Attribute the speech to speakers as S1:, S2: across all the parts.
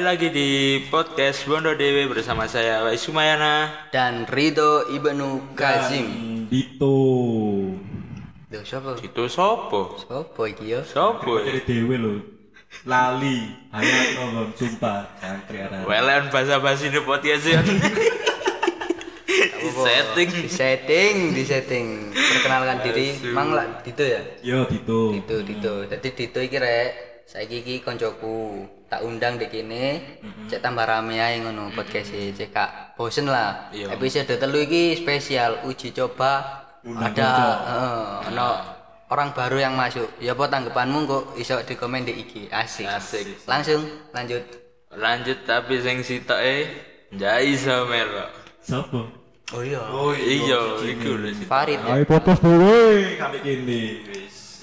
S1: lagi di podcast Bondo Dewi bersama saya Wai Sumayana.
S2: dan Rido Ibnu Kazim.
S3: Dito.
S2: Duh, siapa?
S1: Itu sopo?
S2: Sopo iki ya?
S1: Sopo?
S3: Dari dewe lho. Lali. Ayo ngomong sumpah santri arah.
S1: Welan basa-basi di podcast ya. Di setting.
S2: Di setting, Ya, di setting. Perkenalkan diri, Mang lah Dito ya.
S3: Yo Dito.
S2: Dito, Dito. Jadi Dito iki rek saiki iki koncoku tak undang di kene cek tambah rame ae ngono podcast e cek gak bosen lah
S1: Iya.
S2: episode telu iki spesial uji coba ada eh, ono orang baru yang masuk ya apa tanggapanmu kok iso dikomen di IG asik.
S1: Asik.
S2: langsung lanjut
S1: Lanjut tapi sing sitok e ndak iso melok.
S3: Sopo?
S2: oh iya
S1: Iya, iku lho. sih.
S2: Farid ya?
S3: Ayo podcast dewe kali ini.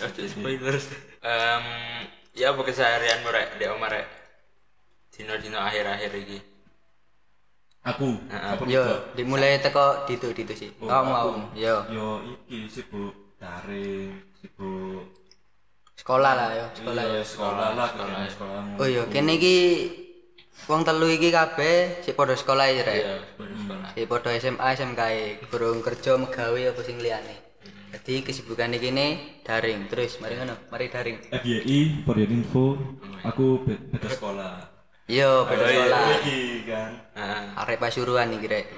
S1: Ada spoiler. Em, ya apa keseharianmu rek di omah rek? Dino-dino akhir-akhir iki.
S3: Aku. apa
S2: Yo,
S3: Dito?
S2: dimulai teko ditu ditu sih.
S3: Oh,
S2: Kamu mau?
S3: aku.
S2: Yo,
S3: Yo iki sibuk daring, sibuk
S2: sekolah lah yo, sekolah.
S3: Iya, sekolah lah, sekolah, sekolah.
S2: Oh yo, kene iki wong telu iki kabeh sik padha sekolah ya, Rek.
S1: Ya, sekolah.
S2: Sik padha SMA, SMK, kurung e. kerja megawe apa sing liyane. Jadi kesibukan iki kene daring terus mari ngono, mari daring.
S3: FYI, for your info, aku be- beda sekolah.
S2: Yo, beda sekolah.
S3: Iki kan.
S1: Heeh.
S2: Arek Pasuruan iki, Rek.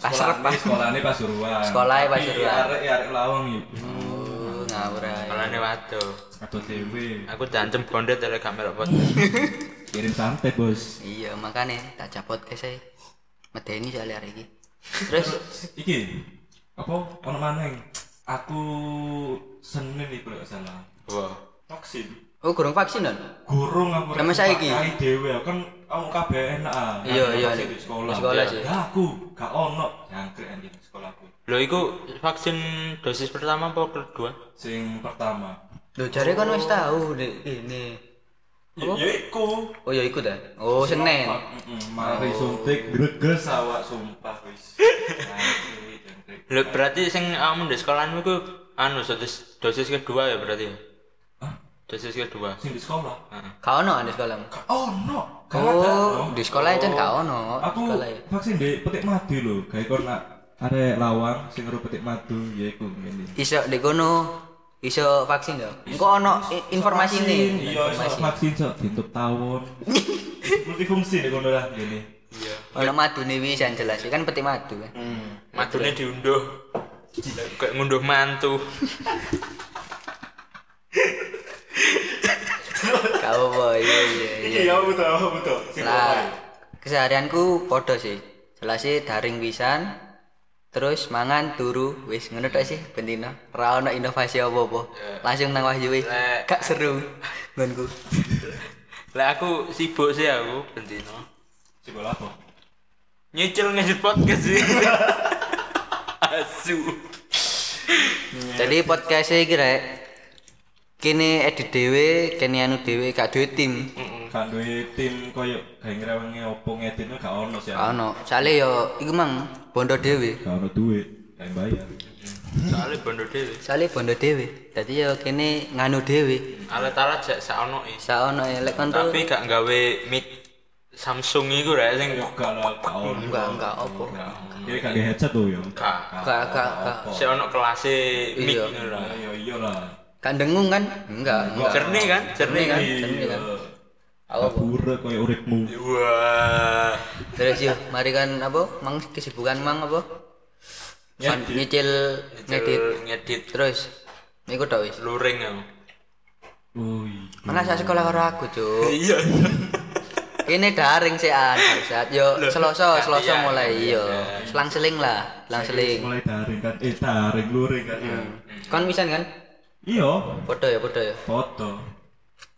S2: Pasrep
S3: Sekolah sekolahane Pasuruan.
S2: Sekolahane
S3: Tapi
S2: ya Pasuruan.
S3: Arek arek lawang iya. yuk.
S2: Oh, ngawur ae.
S1: Sekolahane waduh.
S3: Atau dewe.
S1: Aku jancem bondet oleh kamera podcast.
S3: Kirim santet, Bos.
S2: Iya, makane tak capot guys ae. Medeni soalnya arek iki. Terus
S3: Iki apa ono maneng? Aku Senin iku lek gak salah.
S1: Wah.
S3: Vaksin.
S2: Oh, kurung vaksin kan?
S3: Gurung aku.
S2: Sama saiki?
S3: Pakai dewe aku kan aku kabeh enak. ah.
S2: Iya,
S3: Kan
S2: iya,
S3: vaksin
S2: nek.
S3: di sekolah.
S2: Di sekolah sih.
S3: Ya aku gak ono jangkrik anjing di sekolahku.
S1: Lho iku vaksin dosis pertama apa kedua?
S3: Sing pertama.
S2: Lho jare kan wis tahu Dek, ini.
S3: Ya ya iku.
S2: Oh ya ikut dah. Oh Senin. Oh.
S3: Heeh, mari suntik greges awak sumpah wis. Jangkrik, jangkrik.
S1: Lho berarti sing kamu di sekolahanmu ku anu dosis, dosis kedua ya berarti.
S3: Hah?
S1: Dosis kedua.
S3: Sing di sekolah.
S2: Ka ono kan di sekolah.
S3: Gak ono. Gak ada.
S2: Ah. Oh, di sekolah aja ka ono.
S3: aku
S2: Sekolah ya.
S3: vaksin di petik madu lho kayak kon nak arek lawang sing ngeru petik madu ya iku ngene
S2: Iso di kono iso vaksin ya. Engko ono i- informasi ini.
S3: iya iso vaksin sok ditutup tawon multifungsi nek ngono lah ngene
S1: Iya.
S2: Ono madune wis yang jelas kan peti madu kan.
S1: Madunya diunduh. Kayak ngunduh mantu.
S2: Kau apa iya iya iya.
S3: iya betul betul sing
S2: Lah keseharianku podo sih. Jelas sih daring pisan. Terus mangan turu wis ngono tok sih bentino. Ra ono inovasi apa-apa. Langsung nang Wahyu wis.
S1: Lek.
S2: Gak seru nggonku.
S1: Lah aku sibuk sih aku bentino.
S3: coba lapo
S1: Nyicil ngedit podcast sih. Asu.
S2: Jadi podcast iki rek kene edit dhewe, kene anu dhewe, gak duwe tim.
S1: Hmm.
S3: kan duwe tim koyo gawe ngrewenge opo ngeditnya gak ono sih
S2: Gak ono. Soale yo iku mang bondo dhewe.
S3: gak ono duit gak bayar
S1: Soalnya bondo dhewe.
S2: Soale bondo dhewe. Dadi yo kene nganu dhewe.
S1: Alat-alat jak saono is.
S2: Saono elek kontrol.
S1: Tapi gak nggawe mic Samsung iku rek sing
S3: yo gak lah gak ono
S2: Enggak, enggak opo.
S3: kira gak di headset tuh yo
S1: gak
S2: Gak gak gak.
S1: sik ono kelase mic
S2: Iya.
S1: ngono lah.
S3: yo iya lah
S2: Kan dengung kan? Enggak. enggak.
S1: Jernih kan? Jernih kan?
S3: iya
S2: Apa, apa?
S3: pura koyo uripmu
S1: Wah.
S2: Terus yo, mari kan apa? Mang kesibukan mang apa? Kan nyicil ngedit.
S1: Ngedit ngedit
S2: Terus niku tok wis.
S1: luring aku.
S3: Oh iya.
S2: Mana sak sekolah karo aku, Cuk.
S1: Iya.
S2: Ini daring sih an, saat yo seloso seloso
S1: kasihan.
S2: mulai yo selang seling lah, selang seling.
S3: Mulai daring kan, eh daring luring kan ya.
S2: Hmm. Kon pisan kan?
S3: Iya,
S2: Podo ya podo ya.
S3: foto.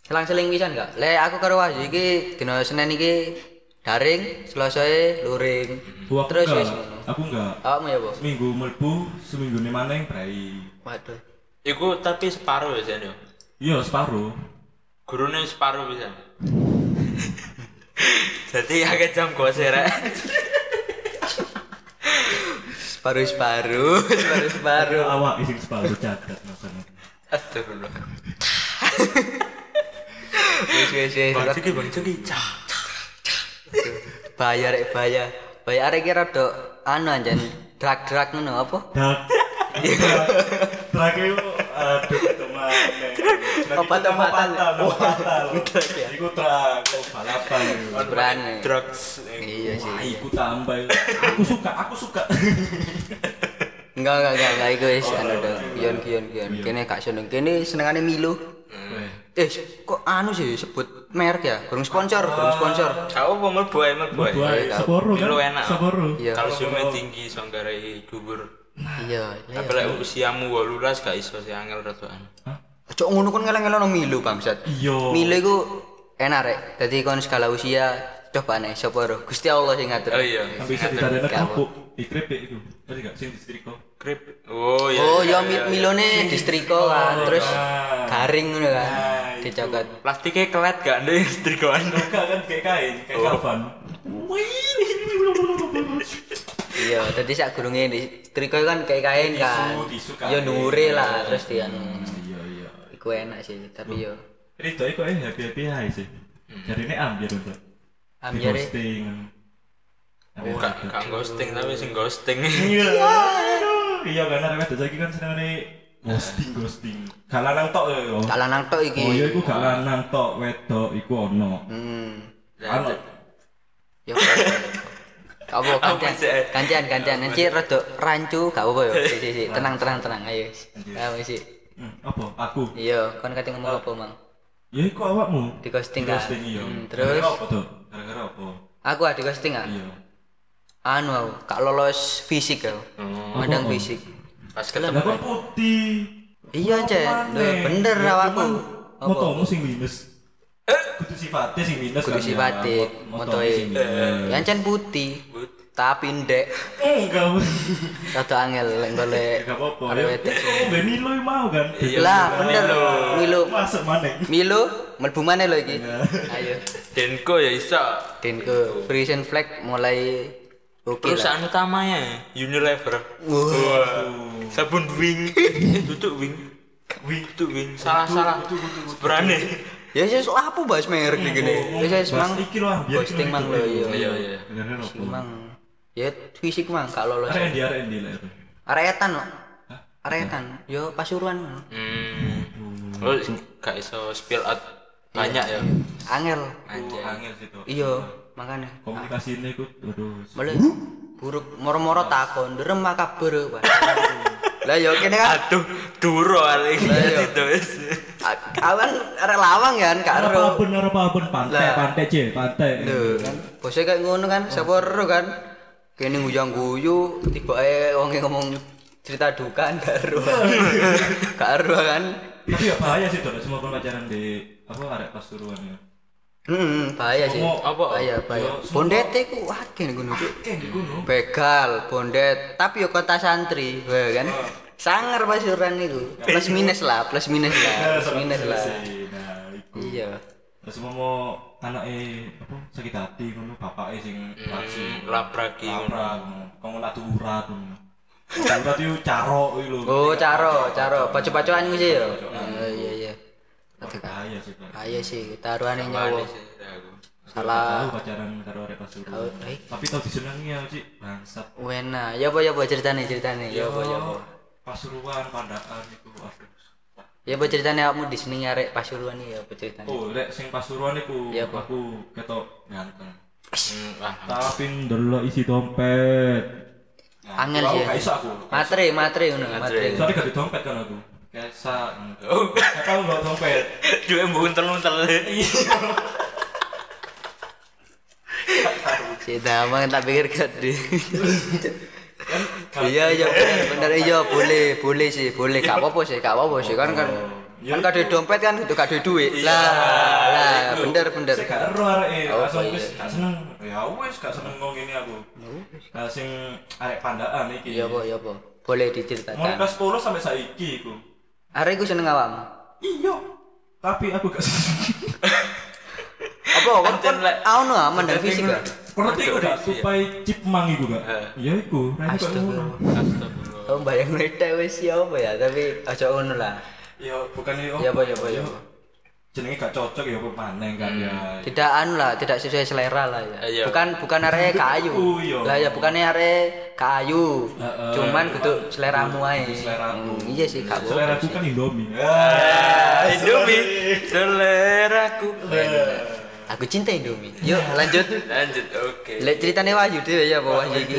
S2: Selang seling pisan gak? Le aku karo Wahyu iki dina Senin iki daring, selosoe luring.
S3: Wah, aku
S2: Terus
S3: enggak,
S2: wis ngono.
S3: aku enggak.
S2: Awakmu ya, Bos?
S3: Seminggu melbu, seminggu nih maneng prai.
S2: Waduh.
S1: Iku tapi separuh ya Zen.
S3: Iya, separuh.
S1: Gurune separuh bisa. Jadi agak jam gue sih rek.
S2: Separuh separuh, separuh separuh.
S3: Awak ising separuh catat maksudnya.
S1: Astagfirullah.
S2: Wis wis wis. Eh,
S1: Bang Cuki, Bang Cuki. Cah. cah.
S2: bahaya rek bahaya bahaya eh, arek kira do anu anjen drag drag ngono apa
S3: Dark. Terakhir itu aduh itu mah.
S2: Oh, Obat-obatan.
S3: Obat-obatan.
S2: Drag ya?
S3: Iku terang kok balapan. itu.
S2: berani
S1: drugs
S2: iya sih
S3: Wah, iku tambah. itu. Aku suka, aku suka.
S2: enggak enggak enggak enggak iku wis anu do kion kion kion kene gak seneng kene senengane milu eh kok anu sih sebut merek ya kurang sponsor kurang sponsor
S1: kau apa melbuai melbuai
S3: Buat Sapporo kan?
S1: Dulu enak.
S3: Sapporo.
S2: iya
S1: kalsiumnya tinggi sanggarai kubur
S2: iya iya.
S1: apalagi usiamu walulas gak iso sih angel rotokan
S2: Cok ngono kon ngeleng-ngeleng milu bangsat.
S3: Iya.
S2: Milu iku enak rek. Dadi kon skala usia coba nek sapa ro. Gusti Allah sing ngatur.
S1: oh iya
S3: Sampai bisa ditarik kapuk. Di keripik itu. Tadi gak sing distriko.
S1: krip oh iya
S2: Oh iya mi- milone distriko kan terus
S3: Nah.
S2: garing ngono kan.
S3: Nah, itu.
S2: Dicokot.
S1: plastiknya kelet gak ada yang setrikoan
S3: Enggak kan kayak kain, kayak kafan.
S2: Iya, dadi sak gurunge distriko kan kayak kain kan.
S3: tisu kain.
S2: Yo nure lah terus dia. hmm.
S3: Iya iya.
S2: Iku enak sih, tapi yo
S3: Ini tuh kok eh happy happy aja sih.
S2: Hmm.
S3: Jadi ini ambil untuk.
S2: amjare
S3: Ghosting.
S2: Oh,
S3: Ambil
S1: gak gak ghosting tapi sing ghosting
S3: Iya. Iya karena rewet aja kan seneng ini ghosting ghosting. Gak lanang tok ya. yo.
S2: gak lanang tok iki.
S3: Oh iya, iku gak lanang tok wedok iku ono. Anu,
S2: Hmm.
S1: Dan-
S3: Ono.
S2: Yo. Gak apa gantian,
S1: sih, eh?
S2: gantian, gantian. Nanti rada rancu, gak apa-apa yo. Si, si, si. Tenang, tenang, tenang. Ayo. Ayo sih.
S3: Hmm, Apa? Aku.
S2: Iya, kon kate ngomong apa, Mang?
S3: Ya iku awakmu.
S2: Di ghosting kan.
S3: Ghosting iya.
S2: Hmm,
S3: Gara-gara
S2: terus
S3: apa tuh? Gara-gara apa?
S2: aku ada ghosting ah.
S3: Iya.
S2: Anu aku, gak lolos fisik aku.
S3: Oh,
S2: Mandang fisik.
S1: Oh. pas ketemu
S3: Lah kok putih.
S2: Iya, Cek. Loh, bener awakku. Apa? Eh?
S3: Motomu sing minus. Kudu sifatnya sing minus
S2: Kudu
S3: kan, ya.
S2: sifatnya,
S3: Mot-
S2: motoe. Eh.
S3: sing minus.
S2: Yang cen putih. Tapi ndek.
S3: Eh, Enggak.
S2: Rada angel lek golek.
S3: Enggak apa-apa.
S2: Ada
S3: Ya,
S2: wedok. Iya.
S3: Ngomong ben Milo mau kan.
S2: Lah, bener. Milo.
S3: Masuk maneh.
S2: Milo, mlebu maneh lho iki. Ayo.
S1: Denko ya iso
S2: Dan ke Frisian Flag mulai oke lah.
S1: perusahaan utamanya anu Unilever
S2: Wah,
S1: Wah. sabun wing tutup wing wing tutup wing salah salah berani
S2: ya sih lapo bahas merek nih gini.
S3: Oh,
S2: Ya sih mang
S3: Bahas iki loh, biar
S2: posting
S3: iki
S2: mang lo
S3: loh, iki
S2: yo.
S1: iya iya
S3: Bener
S2: Posting mang. Ya fisik mang gak lolos.
S3: Arek ndi arek ndi lah itu.
S2: Aretan lo. Aretan. Yo Pasuruan.
S1: hmm Iya. lo gak iso spill out banyak ya
S2: Angel.
S3: Aku Angel situ.
S2: Iya, makanya.
S3: Komunikasinya iku terus.
S2: Mulai buruk moro-moro takon derem maka beru. Lah yo kene kan
S1: aduh duro ali itu wis
S2: a- awan arek lawang ya kan karo.
S3: Apa bener apa ben pantai
S2: Lah.
S3: pantai je pantai.
S2: Lho, kan bosnya kayak ngono kan, siapa ero kan. Kene nguyang guyu, tiba eh wonge ngomong cerita duka kan gak ero. Gak ero kan.
S3: Tapi ya bahaya sih tuh semua pun pacaran di apa arek pasuruan ya.
S2: Hmm, bahaya sih.
S3: Ngomong
S1: apa?
S2: Bahaya, bahaya. Bondete ku akeh ning ngono.
S3: Kayak di gunung.
S2: Begal, bondet, tapi yo kota santri, wah kan. Sangar pasuran niku. Plus minus lah, plus minus lah, plus minus lah.
S3: Nah, iku.
S2: Iya.
S3: Terus mau mau anake apa sakit hati ngono bapake sing langsung
S1: labraki
S3: Hmm, labrak ngono. Kok nak urat ngono. Urat itu carok iki lho.
S2: Oh, caro, caro. Pacu-pacuan iku sih yo. Oh, iya iya. Aduh, Kak.
S3: Bahaya sih tuh.
S2: Ayo sih, taruhane nyawa. Salah
S3: Tahu pacaran karo arek pasuruan.
S2: eh.
S3: Tapi tau disenengi ya, Cik. Bangsat. Oh,
S2: Wena, ya apa ya apa ceritane ceritane, ya apa ya apa.
S3: Pasuruan pandaan itu aduh.
S2: Ya apa ceritane kamu di sini nyarek pasuruan iki, ya apa ceritane.
S3: Oh, lek sing pasuruan iku
S2: Iya, Pak.
S3: aku ketok ganteng.
S1: Hmm, wah.
S3: Tapi ndelok isi dompet.
S2: Angel
S3: aku
S2: sih.
S3: Gak iso aku.
S2: Matre, matre ngono, matre.
S3: Soalnya gak di dompet kan aku. Kesa. Gak tau gak dompet.
S1: Duwe mbuntel-untel.
S2: Si damang tak pikir gede.
S3: Kan
S2: Iya iya bener bener iya boleh boleh sih boleh gak apa-apa sih gak apa-apa sih kan kan
S3: Oh.
S2: kan kade dompet kan itu kade duit lah lah bener bener
S3: Saya gak ero arek e.
S2: Oh,
S3: Langsung
S2: iya. Ya
S3: wis gak seneng. Ya wis gak seneng ngomong ini aku. Nah sing arek pandaan iki.
S2: iya apa iya apa boleh
S3: Mulai
S2: diceritakan
S3: kelas 10 sampai saiki iku.
S2: hari ku seneng awam
S3: Iya. Tapi aku gak seneng.
S2: apa kan kan
S1: Anjen, lek.
S2: anu ah mandang fisik ah.
S3: Ngerti kok gak supai chip mang iku gak? Ya iku, ra iku.
S1: Astagfirullah.
S2: Oh bayang neta wis ya apa ya tapi aja ngono lah.
S3: Ya bukan
S2: Ya apa ya apa ya.
S3: jenenge gak cocok ya apa maneh kan ya.
S2: tidak anu lah tidak sesuai selera lah ya
S1: Iya.
S2: bukan bukan arek kayu
S3: Oh, iya.
S2: lah ya bukannya arek kayu
S3: Heeh.
S2: cuman kudu seleramu ae
S3: kudu seleraku.
S2: Hmm, iya sih gak apa-apa
S3: Selera ku
S2: sih.
S3: kan Indomie. Ah,
S1: Indomie seleraku. Iya.
S2: aku cinta Indomie yuk lanjut
S1: Lanjut, oke.
S2: Lek ceritane Wahyu dhewe ya apa Wahyu iki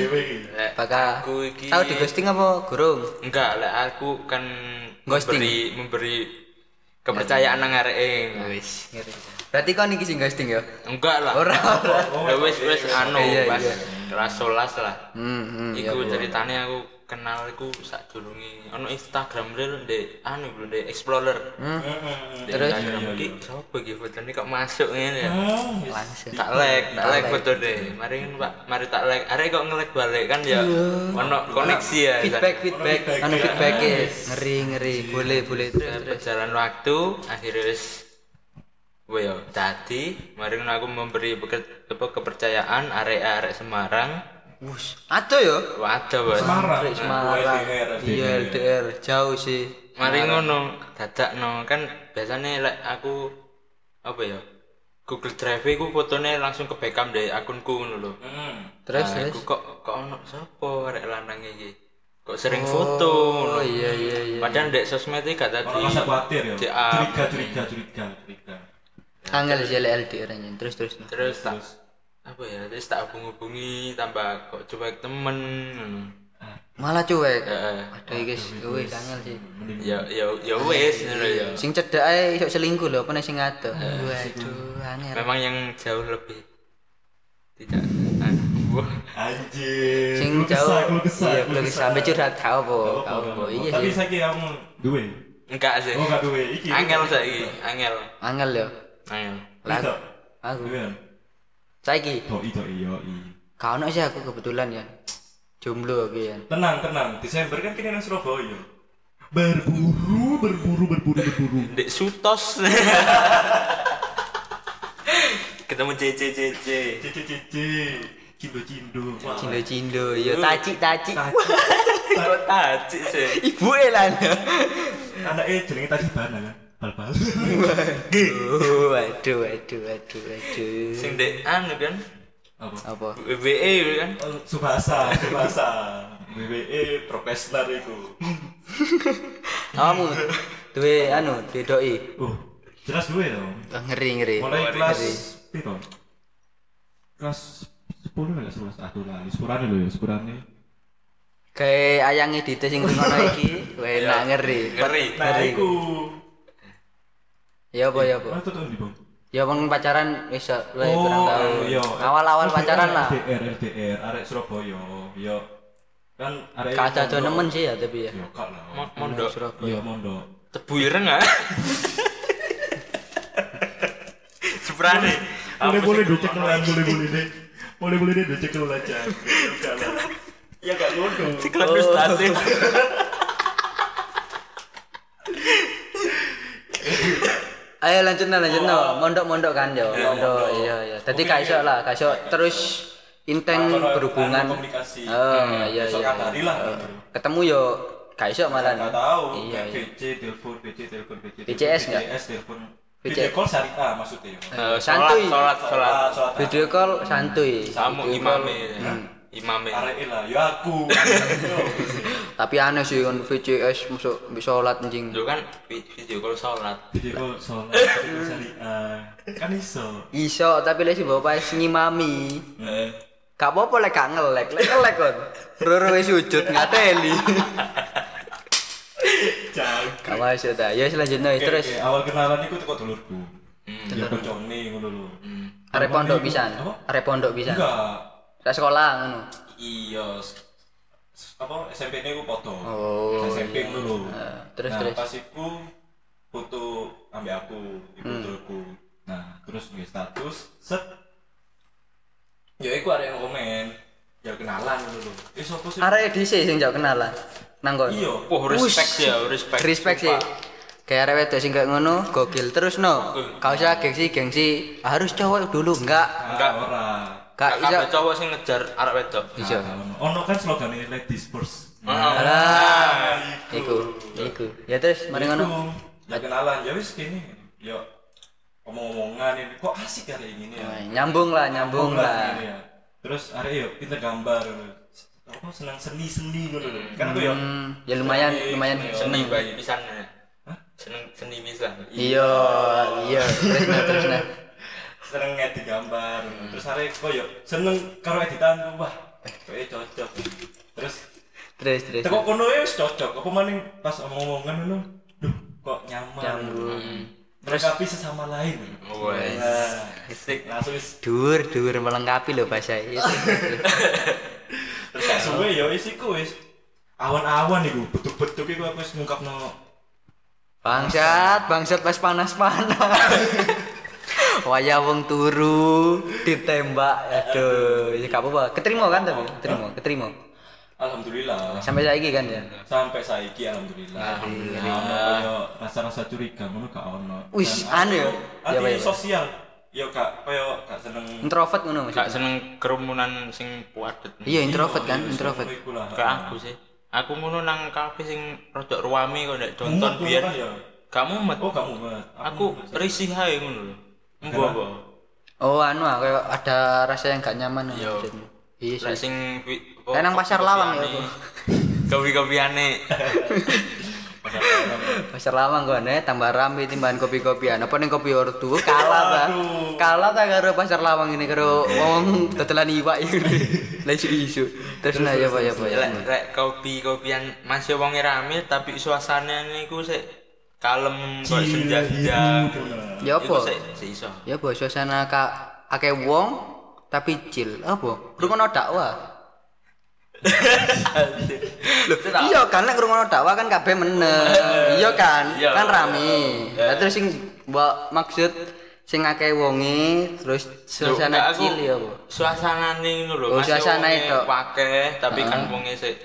S1: Lek
S2: bakal
S1: aku iki
S2: tau di ghosting apa gurung
S1: Enggak, lek aku kan
S2: Ghosting.
S1: memberi memberi kepercayaan nang arek e.
S2: Ya, wis ngeri berarti kon iki sing ghosting ya
S1: Enggak lah.
S2: ora ora
S1: Ya wis wis anu
S2: Iya,
S1: pas
S2: iya.
S1: kelas 11 lah.
S2: hmm hmm iya,
S1: Iku
S2: iya.
S1: ceritanya aku kenal iku sakdurunge ono Instagram reel ndek anu lho ndek Explorer.
S3: Eh.
S1: Ndek
S2: Terus? Iya, Hmm.
S1: Instagram iki sapa iki fotone kok masuk ngene ya.
S2: langsung
S1: tak like, tak like foto deh. Mari kan pak, mari tak like. Arek kok nge-like balik kan ya, ono koneksi ya. kan.
S2: Iya. feedback feedback
S3: feedback,
S2: anu
S3: ya.
S2: feedback ngeri ngeri boleh boleh
S1: Terus Berjalan waktu, akhirnya wis Well, tadi mari kan aku memberi peker- apa, kepercayaan arek-arek Semarang.
S2: wus aco yo
S1: Wadah, Bos.
S3: Semarang.
S2: Dari Semarang
S3: LDR,
S2: iya LDR jauh sih
S1: Mari ngono, dadak no kan biasanya like aku apa ya? Google Drive ku fotone langsung ke backup deh akunku ngono lho.
S3: Hmm.
S2: terus
S1: Nah,
S2: terus
S1: iku kok kok ono sapa arek lanang iki? Kok sering foto ngono.
S2: oh iya iya iya
S1: Padahal ndek sosmed iki gak tadi.
S3: Orang rasa khawatir ya.
S1: CA.
S3: Curiga, curiga, curiga, curiga.
S2: angel sih lek LDR nya terus terus no.
S1: Terus tak apa ya? Terus tak hubung-hubungi tambah kok cuek temen ngono.
S2: malah cuek
S1: Heeh.
S2: aduh iki guys wis angel sih
S1: Ya ya ya wis ngono ya.
S2: sing cedak ae iso selingkuh lho apa nek sing ado waduh angel
S1: Memang yang jauh lebih tidak anu. Wah,
S3: Anjir.
S2: sing
S3: Lu kesah,
S2: jauh
S3: lu kesah,
S2: iya
S3: lu
S2: belum
S3: kesah.
S2: sampe curhat kau apa
S3: Apa,
S2: kau
S3: apa.
S2: apa iya
S3: Tapi
S2: sih
S3: saiki aku duwe.
S1: enggak sih.
S3: Oh, gak duwe iki.
S1: Angel saiki, angel.
S2: angel yo
S1: Angel.
S2: Lah,
S3: Itu.
S2: aku
S3: Duwe.
S2: saiki
S3: Iya. Doi, doi, yoi.
S2: Kau sih aku kebetulan ya. Jomblo aku ya.
S3: Tenang, tenang. Desember kan kini nang Surabaya. Berburu, berburu, berburu, berburu.
S1: Dek Sutos. Ketemu CCCC.
S3: Cici-cici. Cindo-cindo. Wah.
S2: Cindo cindo, yo taci taci.
S1: Kok tajik sih?
S2: Ibu elan.
S3: Anaknya jenenge tadi bana kan. Bal-bal.
S2: Oh, Waduh, waduh, waduh, waduh.
S1: Sing dek anu kan?
S3: Apa?
S2: Apa?
S1: WBE kan?
S3: Oh, Subasa, Subasa. E, WWE profesional iku.
S2: Kamu duwe anu, duwe E? doi.
S3: Oh, jelas duwe dong.
S2: Ah, Ngeri ngeri.
S3: mulai kelas piro kelas sepuluh nggak sebelas ah tuh lali sepurane lho ya sepurane
S2: Kayak ayangnya di sing ngono iki, enak ngeri.
S1: Ngeri.
S3: nah
S2: Ngeri.
S3: iku
S2: Ya apa ya apa?
S3: oh itu tuh Oh, di bang
S2: Ya wong pacaran wis luwih kurang tau.
S3: iya.
S2: Awal-awal pacaran lah.
S3: LDR LDR arek Surabaya yo kan arek
S2: Kaca tuh nemen sih ya tapi ya.
S3: yo kak lah
S1: Mo- Mondok.
S2: Surabaya.
S3: yo mondok
S1: Tebu ireng ah. Seberani.
S3: boleh boleh dicek kelan boleh boleh deh boleh boleh deh dicek kelan aja ya gak ngono
S1: Klub
S2: Oh.
S1: statis.
S2: Ayo lanjut nah, lanjut
S3: Oh.
S2: nah. Mondok-mondok kan yo. Mondok. Iya, iya. Dadi gak iso lah, gak iso terus intens
S3: Kalau
S2: berhubungan.
S3: anu komunikasi.
S2: Oh, iya
S3: besok
S2: iya.
S3: kabari lah gitu.
S2: Ketemu yo gak iso malah.
S3: Gak tahu.
S2: Iya,
S3: kayak
S2: iya.
S3: VC telepon, VC telepon, VC telepon.
S2: VCS nggak?
S3: VCS telepon.
S2: VC.
S3: Video call syariah maksudnya.
S1: Eh,
S2: Santuy.
S1: Sholat, sholat,
S3: Salat,
S1: sholat.
S3: salat.
S2: Video call santuy.
S1: Samu
S2: Video call.
S1: imame. Imame.
S3: Arek lah, ya aku.
S2: Tapi aneh sih kan VCS masuk bisa sholat anjing.
S1: Itu kan vi- video call sholat.
S3: Video call sholat, video call syariah. Kan iso.
S2: Iso tapi lek si bapak wis ngimami.
S3: Eh,
S2: Gak apa-apa lek gak ngelek, lek ngelek kon. Roro wis sujud ngateli.
S3: Jago.
S2: Gak masuk ta. Ya selanjutnya
S3: Oke,
S2: terus
S3: oke, awal kenalan iku teko dulurku. Ya koncone ngono lho.
S2: arep Hmm. pondok pisan.
S3: Apa?
S2: Arep pondok pisan.
S3: Enggak.
S2: Lah sekolah ngono.
S3: Iya. s- s- Apa SMP-ne iku foto.
S2: Oh, Ah,
S3: SMP ngono lho.
S2: terus,
S3: nah,
S2: terus.
S3: pas iku foto ambek aku, iku
S2: Hmm.
S3: dulurku. Nah, terus nge status set. Ya iku arek yang komen. Ya kenalan ngono lho. Eh sapa sih?
S2: Arek dhisik sing jauh kenal lah. Nang kono.
S3: Iya.
S1: Wah, respect ya, respect.
S2: Respect sih. Kayak arek wedok sing kayak ngono, gokil. Terus no, gak usah gengsi gengsi. Harus cowok dulu, enggak.
S3: Enggak Nah, ora.
S2: Gak iso.
S1: Kabeh cowok sing ngejar arek wedok.
S2: Iso.
S3: Ono- Ono kan slogane ladies first. Nah,
S2: Alah,
S3: gitu.
S2: iku, iku. Ya terus mari ngono.
S3: Iku, Ya kenalan, ya wis kene. Yo omong-omongan ini kok asik kali ini ya
S2: Nah, nyambung lah nyambung lah
S3: Ini ya. terus ada ya pinter gambar gitu. aku senang seni seni gitu loh kan aku ya
S2: Hmm, ya lumayan lumayan
S1: seni
S2: seneng
S1: bayi pisan ya. seneng seni pisan
S2: iya iya terus nah terus nah
S3: seneng ngedit gambar terus hari kok ya seneng karo editan tuh, wah kayaknya cocok terus
S2: terus terus
S3: teko kono ya wis cocok apa maning pas omong-omongan ngono duh kok nyaman melengkapi sesama lain
S1: wes
S3: nah, langsung wis
S2: dur dur melengkapi loh bahasa itu
S3: terus gak suwe ya wis iku wis awan-awan iku betuk-betuk iku aku wis ngungkapno
S2: bangsat bangsat pas panas panas wayah wong turu ditembak aduh ya gak apa-apa keterima kan tapi keterima keterima
S3: alhamdulillah
S2: sampai saiki kan ya
S3: sampai saiki alhamdulillah alhamdulillah ono koyo rasa-rasa curiga ngono gak ono
S2: Wis,
S3: Dan
S2: anu ya.
S3: aku
S2: Ya, apa
S3: anti
S2: ya?
S3: sosial ya gak koyo gak seneng
S2: introvert ngono
S1: gak
S2: maksudnya
S1: seneng kerumunan sing padet
S2: iya introvert kan
S3: Iya, wis,
S2: introvert
S3: ngono iku lah.
S1: kayak aku sih aku ngono nang kafe sing rodok ruame kok nek
S3: Mumet
S1: nonton
S3: ngono
S1: biar
S3: kan ya.
S1: kamu met
S3: oh kamu Mbak.
S1: aku risih ae ngono lho mbok mbok
S2: oh anu ah, kayak ada rasa yang gak nyaman ngono
S1: Yo.
S2: maksudnya. iya
S1: lek
S2: sih
S1: sing wi- apa,
S2: Kayak nang pasar lawang ya, Bu.
S1: kopi-kopiane
S2: pasar lawang kok nih tambah rame timbahan kopi-kopian apa nih kopi ortu kalah ta kalah ta karo pasar lawang ini karo wong tetelan iwak ini lagi isu terus nah ya pak ya pak ya
S1: lek lek kopi-kopian masih wong rame tapi suasananya niku sik kalem kok senja-senja
S2: Ya
S1: Iku
S2: apa?
S1: sik sik iso
S2: ya pak suasana kak akeh wong tapi chill apa krungono dakwah Loh, iya kan nek krungono dakwah kan kabeh meneng. Iya kan?
S1: Iya.
S2: Kan rame. Lah terus sing mbok maksud sing akeh wonge terus
S1: Loh, enggak,
S2: suasana
S1: aku
S2: chill ya apa?
S1: Suasanane ngono lho.
S2: Oh,
S1: masih
S2: suasana
S1: wonge
S2: itu. Ah.
S1: Wakeh, tapi kan wonge sik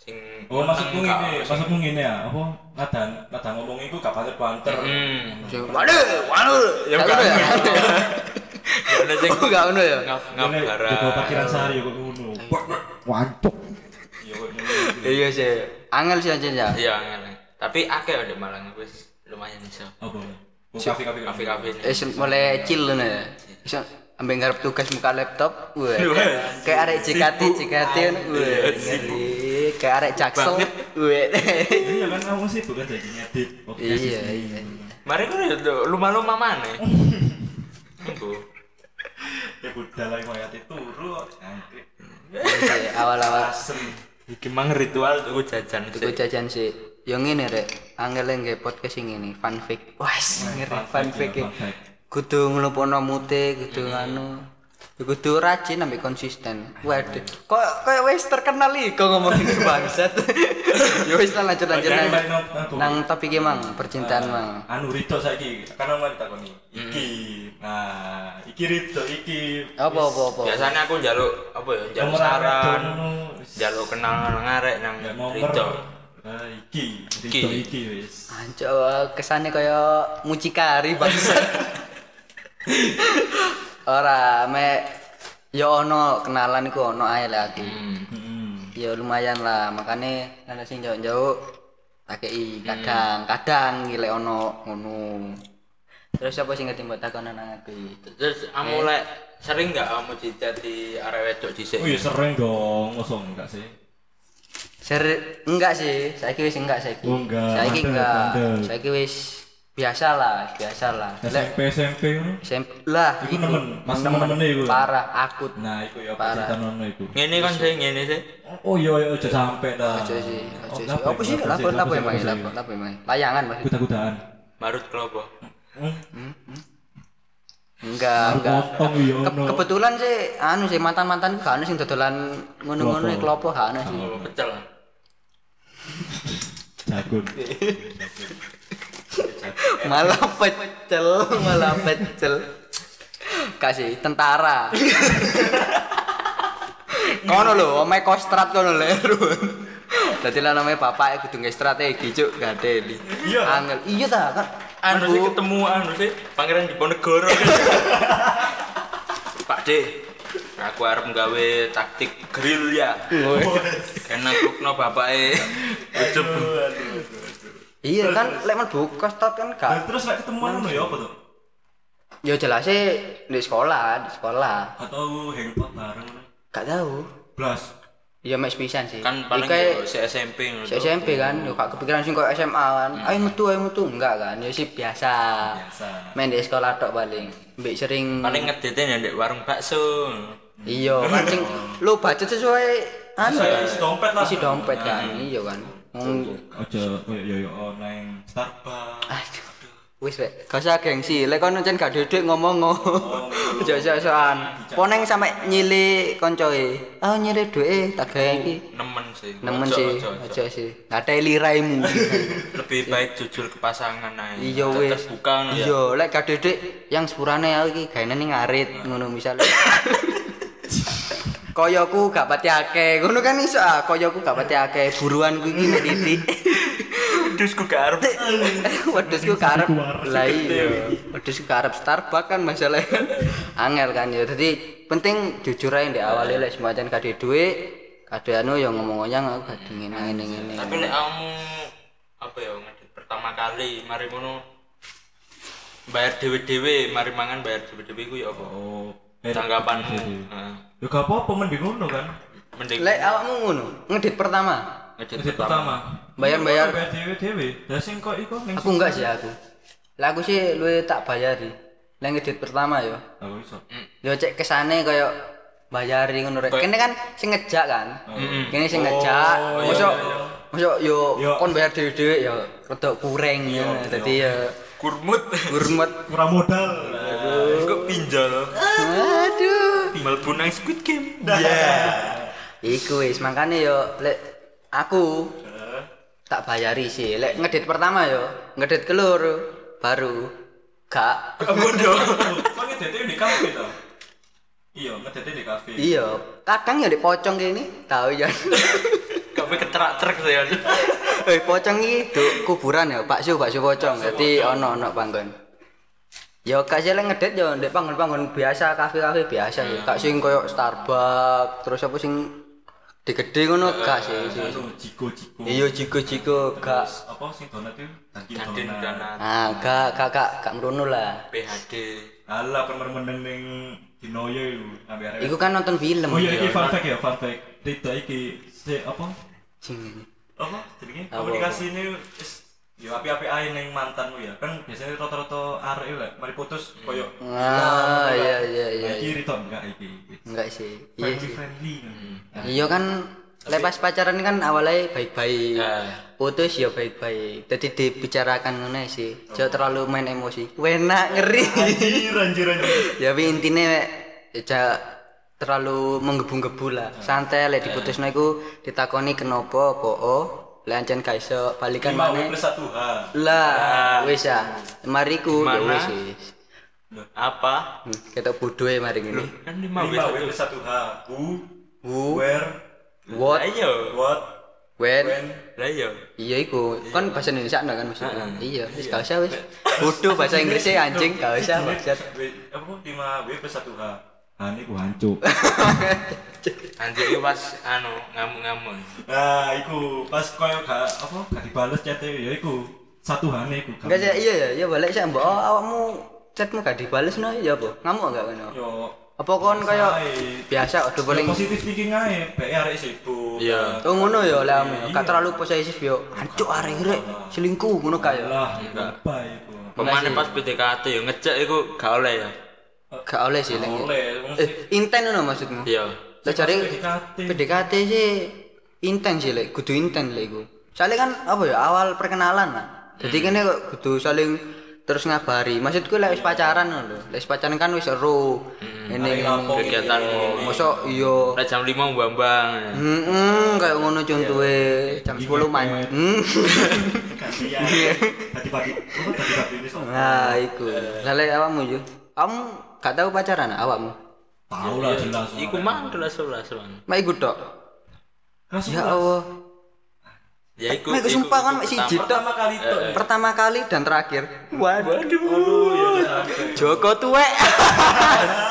S1: sing
S3: Oh maksudku
S1: meneng,
S3: ngene,
S1: gak-
S3: maksudku ngene ya. Apa kadang kadang ngomong iku gak banter-banter.
S1: Hmm.
S2: Waduh, waduh.
S1: Ya
S2: Gak
S1: bukan.
S2: ngono
S1: Ya ono sing
S2: Oh, gak ngono ya.
S1: ngap-
S3: Ngene
S1: ngabaran.
S3: Joko Pakiran Sari kok ngono. Wantuk. Iya kok ngono.
S2: Iya sih. Angel sih anjir ya.
S1: Iya, ngene. Tapi akeh lho di Malang wis lumayan iso.
S3: Apa? Mau kafe-kafe
S1: Kafe-kafe ini.
S2: Wis mulai chill ngono ya. Wis ambek ngarep tugas muka laptop. Wah. Kayak arek JKT JKT ngono. Wah. ngeri. Kayak arek jaksel. Wah.
S3: Iya kan kamu sih bukan jadi ngedit. Oke,
S2: Iya,
S3: sih.
S2: iya.
S1: Mari ngono ya lho, lumah-lumah maneh. Engko.
S3: Ya budal ae mayate turu kok. Jangkrik.
S2: Iya, Awal-awal
S3: Asem.
S1: Iki mang ritual tuku jajan
S2: tuku
S1: sik.
S2: jajan sih. Yang ini rek, angel nggih podcast sing ini, fanfic. Wah, ngeri fanfic. ya.
S3: ya, fanfic.
S2: Kudu nglupukno mute, kudu anu. Ya Kudu rajin ambek konsisten. Waduh, kok kayak wis terkenal iki kok ngomongin bangsat. ya wis lah, lanjut lanjut
S3: Jangan
S2: lanjut.
S3: balik nang- nang turu.
S2: Nang topik mang percintaan mang.
S3: Ah. Anu Rito saiki, karena mau ditakoni. Iki.
S2: Hmm.
S3: Nah, iki Rito iki.
S2: Apa apa apa.
S1: Biasanya aku njaluk apa ya, njaluk
S3: Nomor arek
S1: saran,
S3: dono.
S1: njaluk kenal ngarek nang
S3: Nggak nomor.
S1: Rito.
S3: Nah, iki, Rito
S1: Iki.
S3: iki wis.
S2: Anco kesannya kayak mucikari bangsat. Ora me yo ono kenalan iku ono ae lah aku.
S1: Hmm.
S3: Heeh.
S2: Ya lumayan lah, makane ana sing jauh-jauh takei Hmm. kadang-kadang ngile ono ngono. Terus apa sing ngerti mbok takonan nang aku?
S1: Terus
S3: Eh.
S1: kamu lek sering nggak kamu cicat di arek wedok dhisik?
S3: Oh iya sering dong, ngosong enggak sih?
S2: Ser enggak sih, saiki wis enggak saiki.
S3: Oh, enggak.
S2: Saiki
S3: Bandel,
S2: enggak.
S3: bandel.
S2: Saiki wis biasa lah, biasa lah. Lek
S3: SMP SMP ngono.
S2: SMP lah
S3: Iku nemen, pas nemen-nemene iku.
S2: parah aku
S3: Nah, iku ya
S2: Parah.
S3: cerita nono iku.
S1: Ngene kon sih, ngene sih.
S3: Oh iya iya aja sampe dah.
S2: Ojo sih, ojo
S3: Oh,
S2: sih. Apa sih? Lapo lapo emang ya, lapo lapo emang. Layangan Mas.
S3: Kuda-kudaan.
S1: Marut klopo.
S3: Hmm.
S2: Enggak, enggak.
S3: Potong iya
S2: Ke-
S3: ono.
S2: kebetulan sih anu sih mantan-mantan gak ana sing dodolan ngono-ngono klopo
S3: Klopo.
S2: gak ana sih.
S1: Klopo
S3: Oh.
S1: pecel.
S3: Jagun.
S2: Malah pecel, malah pecel. Kasih tentara. kono lho, omae kostrat kono lho. Erun. Dadi lah namanya bapaknya kudu eh, nge strategi cuk gak deli.
S3: Iya.
S2: Angel. Iya ta kan.
S1: Anu sih
S2: Bu.
S1: ketemu anu sih Pangeran Diponegoro. Pak D, aku arep gawe taktik gerilya. Kena klukno bapake. Ujub.
S2: Iya kan lek mlebu kostrat kan gak Ah,
S3: Nah, terus lek ketemuan ngono ya apa tuh?
S2: Ya jelasnya di sekolah, di sekolah.
S3: atau hangout bareng
S2: Gak tahu.
S3: blas
S2: Ya mes pisan sih.
S1: kan paling
S2: Iki kayak
S1: yo si SMP ngono
S2: si SMP kan, yo gak kepikiran sing kok SMA kan. Ayo metu, ayo metu enggak kan. Ya sih biasa.
S3: biasa
S2: Main di sekolah tok paling. Mbek sering
S1: paling ngedate nang ndek warung bakso
S2: iya kan sing lu budget sesuai anu
S3: Sesuai
S2: ya.
S3: isi dompet lah. Hmm.
S2: Isi dompet kan. Iya kan. Wong-
S3: ojo koyo yo yo online Starbucks
S2: Aduh. Wis wek, gak usah gengsi. Lek kono ncen gak dedek ngomong
S3: Oh,
S2: ngo. Ojo sok-sokan. Poneng sampe nyile koncoe. Ah nyile duwe tak gawe iki.
S1: nemen sih
S3: Oh,
S2: Nemen
S1: Ojo,
S2: sih,
S1: ojo, ojo.
S2: ojo sih. Gak ada liraimu.
S1: lebih baik jujur ke pasangan ae
S2: Iya
S1: Tetep
S2: wis.
S1: terbuka ngono ya
S2: Iya, lek gak dedek yang sepurane aku iki gaene ning ngarit ngono misale. Koyoku gak pati akeh. Ngono kan iso ah, koyoku gak pati akeh. Buruanku iki mek titik.
S1: wedhusku gak arep
S2: wedhusku karep lah iya wedhusku karep Starbucks kan masalahnya kan angel kan ya jadi penting jujur aja di awal lek semacam kade duit kade anu ya ngomongnya aku gak dingin ngene ngene
S1: tapi nek kamu apa ya ngedit pertama kali mari ngono bayar dewe-dewe mari mangan bayar dewe-dewe ku ya apa
S3: oh
S1: tanggapanmu
S3: Hmm.
S1: Heeh.
S3: yo gak apa-apa mending ngono kan
S1: mending
S2: lek awakmu ngono ngedit pertama
S1: ngedit
S3: Jadi
S1: pertama
S3: pertama
S2: bayar-bayar
S3: bayar dhewe dhewe lah sing kok iku ning
S2: aku enggak sih aku lah aku sih lu tak bayari lek ngedit pertama yo
S3: aku Oh, iso
S2: yo cek kesane koyo bayari ngono rek kene kan sing ngejak kan kene sing ngejak mosok mosok yo
S3: Yo.
S2: kon bayar dhewe-dhewe yo rada kurang ya dadi yo
S1: kurmut
S2: hormat
S3: kurang modal Eh.
S1: kok pinjol
S2: aduh
S1: mlebu nang Squid Game
S2: iku wis makane yo lek aku tak bayari sih lek ngedit pertama yo ngedit keloro baru gak
S1: bodoh
S3: kok ngedete di kafe to iya ngedete di kafe
S2: iya kadang yo di pocong kene tau ya
S1: kamu keterak trek sih kan
S2: Eh pocong iki duk kuburan ya, bakso bakso pocong. Dadi ono-ono panggon. Ya gak sih lek ngedit ya ndek panggon-panggon biasa, kafe-kafe biasa ya. Gak sing koyo Starbucks, terus apa sing gede-gede ngono gak sih. sih.
S3: langsung jiko jiko
S2: Iya jigo-jigo gak.
S3: apa sing donat itu tadi
S1: Dunkin Donat.
S2: Ah, gak gak gak gak mrono lah.
S1: PHD
S3: Alah kan mermenen ning Dinoyo iku ambil arek.
S2: Iku kan nonton film.
S3: Oh iya iki fun fact ya, fun fact. Rita iki se apa?
S2: Sing ini.
S3: Apa jenenge? Komunikasi ini wis yo api-api ae ning mantanmu ya. Kan biasanya rata-rata arek iku lek mari putus koyo
S2: Ah, iya iya Hmm. iya.
S3: Nah, iki Rita enggak iki.
S2: Enggak sih. Iya
S3: Friendly
S2: sih.
S3: friendly.
S2: Iya kan lepas pacaran kan awalnya baik-baik.
S1: Nah,
S2: putus ya baik-baik jadi dibicarakan ngono sih jangan terlalu main emosi wena ngeri
S3: Anjir anjir anjir.
S2: ya tapi intinya aja terlalu menggebu-gebu lah santai lek diputus iku ditakoni kenapa poo lancen gak iso balikan
S3: Lima W
S2: mana
S3: plus satu H.
S2: lah wis ya mariku ya
S1: Gimana?
S2: wis wis.
S1: apa
S2: Hmm, ketok bodohe mari ngene
S1: kan lima
S3: Lima W
S1: wis
S3: plus satu H. Who,
S2: who
S3: where,
S1: lah
S2: what
S1: iya
S3: what,
S2: when
S3: when.
S1: lah iya
S2: iya iku kan bahasa Indonesia no kan maksudnya iya wis gak usah wis bodoh bahasa Inggrisnya anjing gak usah maksud
S3: W- Apa lima W plus satu H. Nah ini ku hancur.
S1: nanti iwas anu ngamuk-ngamuk
S3: Nah, iku pas koyo gak apa gak dibales chat ya iku satu hane iku.
S2: Enggak sih, iya ya, ya balik sih mbok Oh, awakmu chatmu gak dibales no ya apa? Ngamuk enggak kono?
S3: Yo
S2: Apa kon kaya
S3: Sae.
S2: biasa udah paling
S3: positif thinking ae, bae arek sibuk.
S1: Iya.
S2: Oh ngono ya lah kamu, gak terlalu posesif yo. Ancuk arek rek selingkuh ngono
S3: Kan.
S2: kaya.
S3: Lah,
S1: Iya.
S3: enggak bae iku.
S1: pemane pas PDKT ya ngejek iku gak oleh ya
S2: Gak oleh sih lagi.
S3: Oleh wong
S2: Eh, inten ngono maksudmu?
S1: iya
S2: Lah jare
S3: PDKT.
S2: PDKT sih inten sih lek, kudu inten lek iku. Soalnya kan apa ya awal perkenalan lah. Jadi kene kok kudu saling terus ngabari. Maksudku lek wis pacaran ngono lho. Lek wis pacaran kan wis seru. Ini
S3: lapo.
S1: kegiatanmu
S2: mosok iya
S1: Lah jam 5 mbambang ya.
S2: Heeh, kayak ngono contohe jam 10 main. Hmm.
S3: gantian. Tadi pagi, apa tadi pagi ini sok.
S2: Iya. Nah, iku. Lah lek awakmu yo. Kamu gak tahu pacaran awakmu?
S3: Tahu lah jelas.
S1: iku mang kelas 11 bang
S2: Mak iku tok.
S3: Kelas
S2: Ya
S3: sebelas.
S2: Allah.
S1: ya iku
S2: Mak iku sumpah kan mek siji tok.
S3: pertama kali itu.
S1: Eh,
S2: Pertama kali dan terakhir. Waduh.
S3: Aduh, ya
S2: Joko tuwek.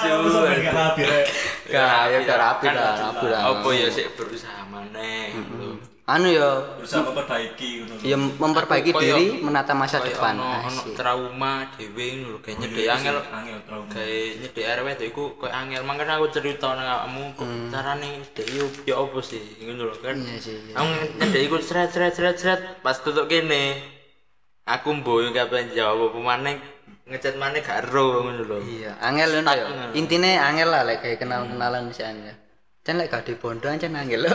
S3: Aduh, enggak rapi rek.
S2: Gak ya gak rapi
S1: Kan
S2: lah, rapi lah.
S1: apa ya sik berusaha maneh gitu.
S2: anu ya
S3: berusaha memperbaiki ngono.
S2: ya memperbaiki
S1: Aku koyo-
S2: diri menata masa
S1: Kayak
S2: depan
S1: ono ono
S2: Asik. Oh,
S1: trauma dhewe ngono lho kayak nyedek angel
S3: angel trauma.
S1: kayak nyedek arep itu iku kayak angel makanya aku cerita nang kamu carane nyedek yo yo opo sih ngono lho kan.
S2: Mm. Iya sih, iya.
S1: Aku nyedek iku sret sret sret sret pas tutup kene aku mboyo kapan jawab apa maneh ngechat maneh gak ero ngono lho.
S2: iya angel ngono ya intine angel lah lek kayak kenal-kenalan si angel Cen lek gak di bondo ancen angel lho.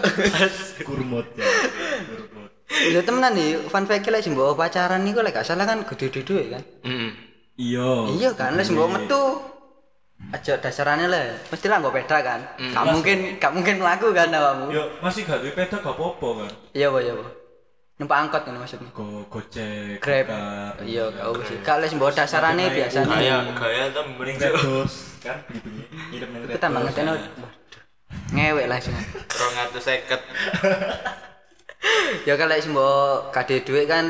S3: Kurmot ya. Kurmot.
S2: Lho temenan nih, fun fact lek sing mbok pacaran niku lek gak salah kan gede duwe kan.
S1: Heeh.
S3: Iya.
S2: Iya kan, les mbok metu. Aja dasarannya lah, mesti lah nggak beda kan. Gak mungkin, gak mungkin melaku kan awakmu.
S3: Yo masih gak duwe peda gak apa-apa kan.
S2: Iya apa iya apa. Numpak angkot kan maksudnya.
S3: Go Gojek,
S2: Grab.
S3: Grab,
S2: Iya, gak apa sih. Gak les mbok dasarane
S3: Semakin
S2: biasa.
S1: Kayak
S3: naik
S1: kayak tuh
S3: Ning
S1: mending
S3: Red Doors kan gitu. Ngirim ning Red
S2: Kita
S3: Doors.
S2: banget Waduh. Ngewek lah sih.
S1: 250.
S2: Ya kalau lek mbok kade duit kan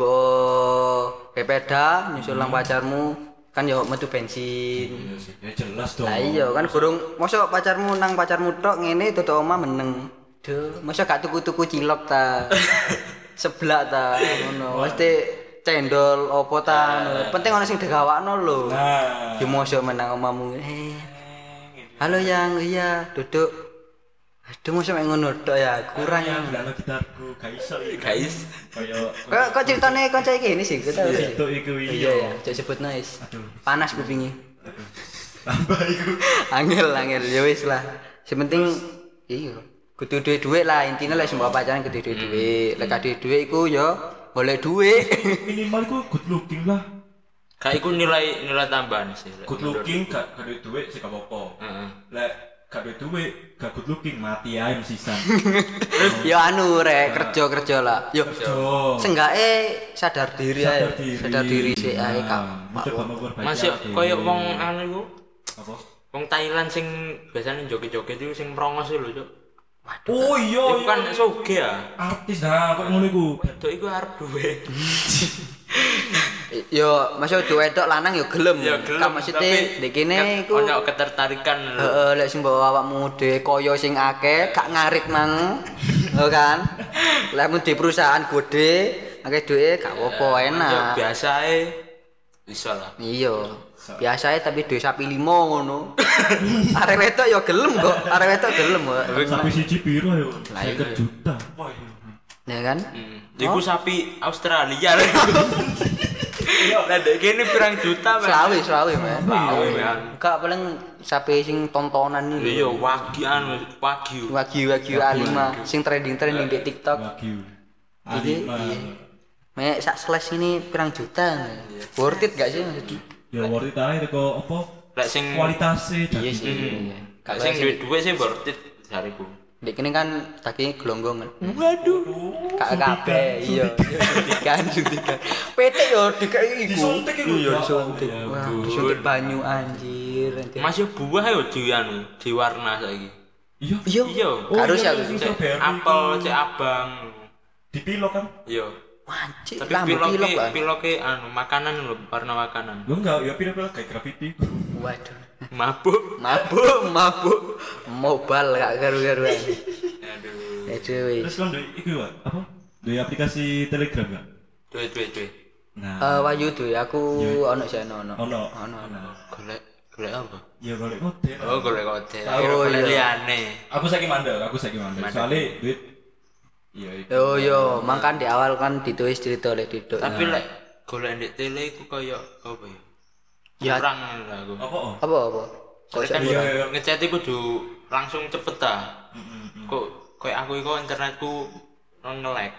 S2: mbok pepeda nyusul lang pacarmu kan yo metu bensin.
S3: Iya sih. Ya jelas dong.
S2: Lah iya kan gurung mosok pacarmu nang pacarmu tok ngene tutuk omah meneng. Duh, mosok gak tuku-tuku cilok ta. Seblak ta Eh, ngono. Mesti cendol opo ta. ngono. Penting ono sing digawakno lho.
S3: Nah,
S2: Yo mosok menang omahmu. Eh. Halo yang iya duduk. Aduh mosok mek ngono tok ya kurang.
S3: yang bilang gitarku gak iso iki.
S1: Guys,
S3: Kayak
S2: Kok kok ceritane kanca iki ini sih, kita
S3: Iya, itu iku
S2: Iya ya,
S3: iya.
S2: coba sebut noise. Panas kupingnya.
S3: Tambah iku.
S2: angel angel ya wis lah sing penting iya kudu duwe duit lah intinya lek semua pacaran kudu
S3: Hmm.
S2: duwe duit lek gak duwe duit iku ya golek duit
S3: Minimal ku good looking lah.
S1: kayak iku nilai nilai tambahan sih. lek
S3: Good
S1: menurut-
S3: looking gak gak duwe duit sih gak apa-apa.
S2: Hmm.
S1: Heeh.
S3: Lek gak duwe duit gak good looking mati ae mesisan.
S2: ya anu rek kerja-kerja lah yo
S3: Yo.
S2: senggake e sadar diri ae
S3: Sadar diri. Nah,
S2: sadar diri sik ae kak Pak.
S3: Mencoba memperbaiki
S1: Masih
S3: awake
S1: koyo
S3: dhewe.
S1: wong anu iku,
S3: apa?
S1: wong Thailand sing biasanya joget-joget itu sing merongos itu lho, Cuk.
S3: Oh iya,
S1: Iku
S3: iya.
S1: kan soge ya.
S3: artis nah kok ngono iku.
S1: Wedok iku arep duwe.
S2: yo maksud duwe tok lanang yo gelem
S1: Ya gelem.
S2: Kak, maksudnya ndek kene
S1: ket-
S2: iku
S1: ono ketertarikan lho.
S2: Heeh, lek sing bawa awakmu dhewe kaya sing akeh, gak ngarit mang. Lho kan? Lek mun di perusahaan gede, akeh duwe gak apa-apa,
S1: Ya
S2: enak.
S1: biasae iso lah.
S2: Iya. Biasae tapi duwe sapi limo ngono. Arek wedok ya gelem kok, arek wedok gelem kok.
S3: Sampai siji piro yo? 50 juta. Wah.
S2: Ya kan?
S1: Hmm. Iku sapi Australia lho. Lah ndek kene pirang juta Mas.
S2: Selawi, selawi, Mas.
S1: Selawe, man.
S2: Enggak paling sapi sing tontonan
S1: Lho
S2: iki.
S1: yo wagi anu wagyu.
S2: Wagyu wagyu A5 sing trending-trending di TikTok.
S3: Wagyu.
S2: Iki,
S3: Alima.
S2: iya. Mek sak slash ini pirang juta. Worth it gak sih maksudnya?
S3: Ya worth it ae teko apa?
S1: Lek sing
S3: Kualitasnya daging.
S2: Iya.
S1: lek sing duwe-duwe sih worth it jariku.
S2: Dek kene kan dagingnya gelonggongan.
S3: Mm-hmm.
S1: Waduh.
S2: Kak
S3: kan.
S2: kabeh iya. Suntikan suntikan. PT yo dikai iku.
S3: Disuntik iku.
S2: Iya disuntik.
S3: Ya
S2: Wah, disuntik banyu anjir. anjir.
S1: Mas yo buah yo di anu, di warna saiki.
S3: Iya.
S2: Iya.
S1: Iya.
S3: Oh,
S2: Karo
S3: iya,
S2: siapa?
S3: iya, iya,
S1: Cek
S3: iya.
S1: apel, cek abang.
S3: Dipilok kan?
S1: Yo.
S2: Anjir,
S1: Tapi
S2: lambe pilok
S1: piloke
S2: kan.
S1: piloke anu makanan lho, warna makanan.
S3: Lu enggak, ya pilok-pilok kayak graffiti.
S2: Waduh.
S1: Mabuk.
S2: Mabuk, mabuk. Mobile gak garu-garuan.
S1: Aduh.
S2: Aduh wis.
S3: Terus kan duwe iku Wak, apa? Duwe aplikasi Telegram enggak?
S1: Duwe duwe duwe.
S3: Nah,
S2: Eh Wayu tuh aku ono sih ono ono.
S3: ono.
S2: Ono ono.
S1: Golek golek apa?
S3: Ya golek model.
S1: Oh, golek hotel.
S3: Oh,
S1: Oh, golek
S2: iya.
S1: liane.
S3: Aku saiki mandek, aku saiki mandek. Soale duit Iya, iya.
S2: Yo yo, mangkan di awal kan ditulis cerita oleh Diduk.
S1: Tapi lek golek ndek tele iku koyo apa ya?
S2: Ya.
S1: Kurang lho aku.
S3: Apa? oh?
S2: Apa apa? Kok
S1: Soalnya kan
S3: Iya, iya.
S1: ngechat iku kudu langsung cepet ta. Kok koyo aku iku internetku nge-lag.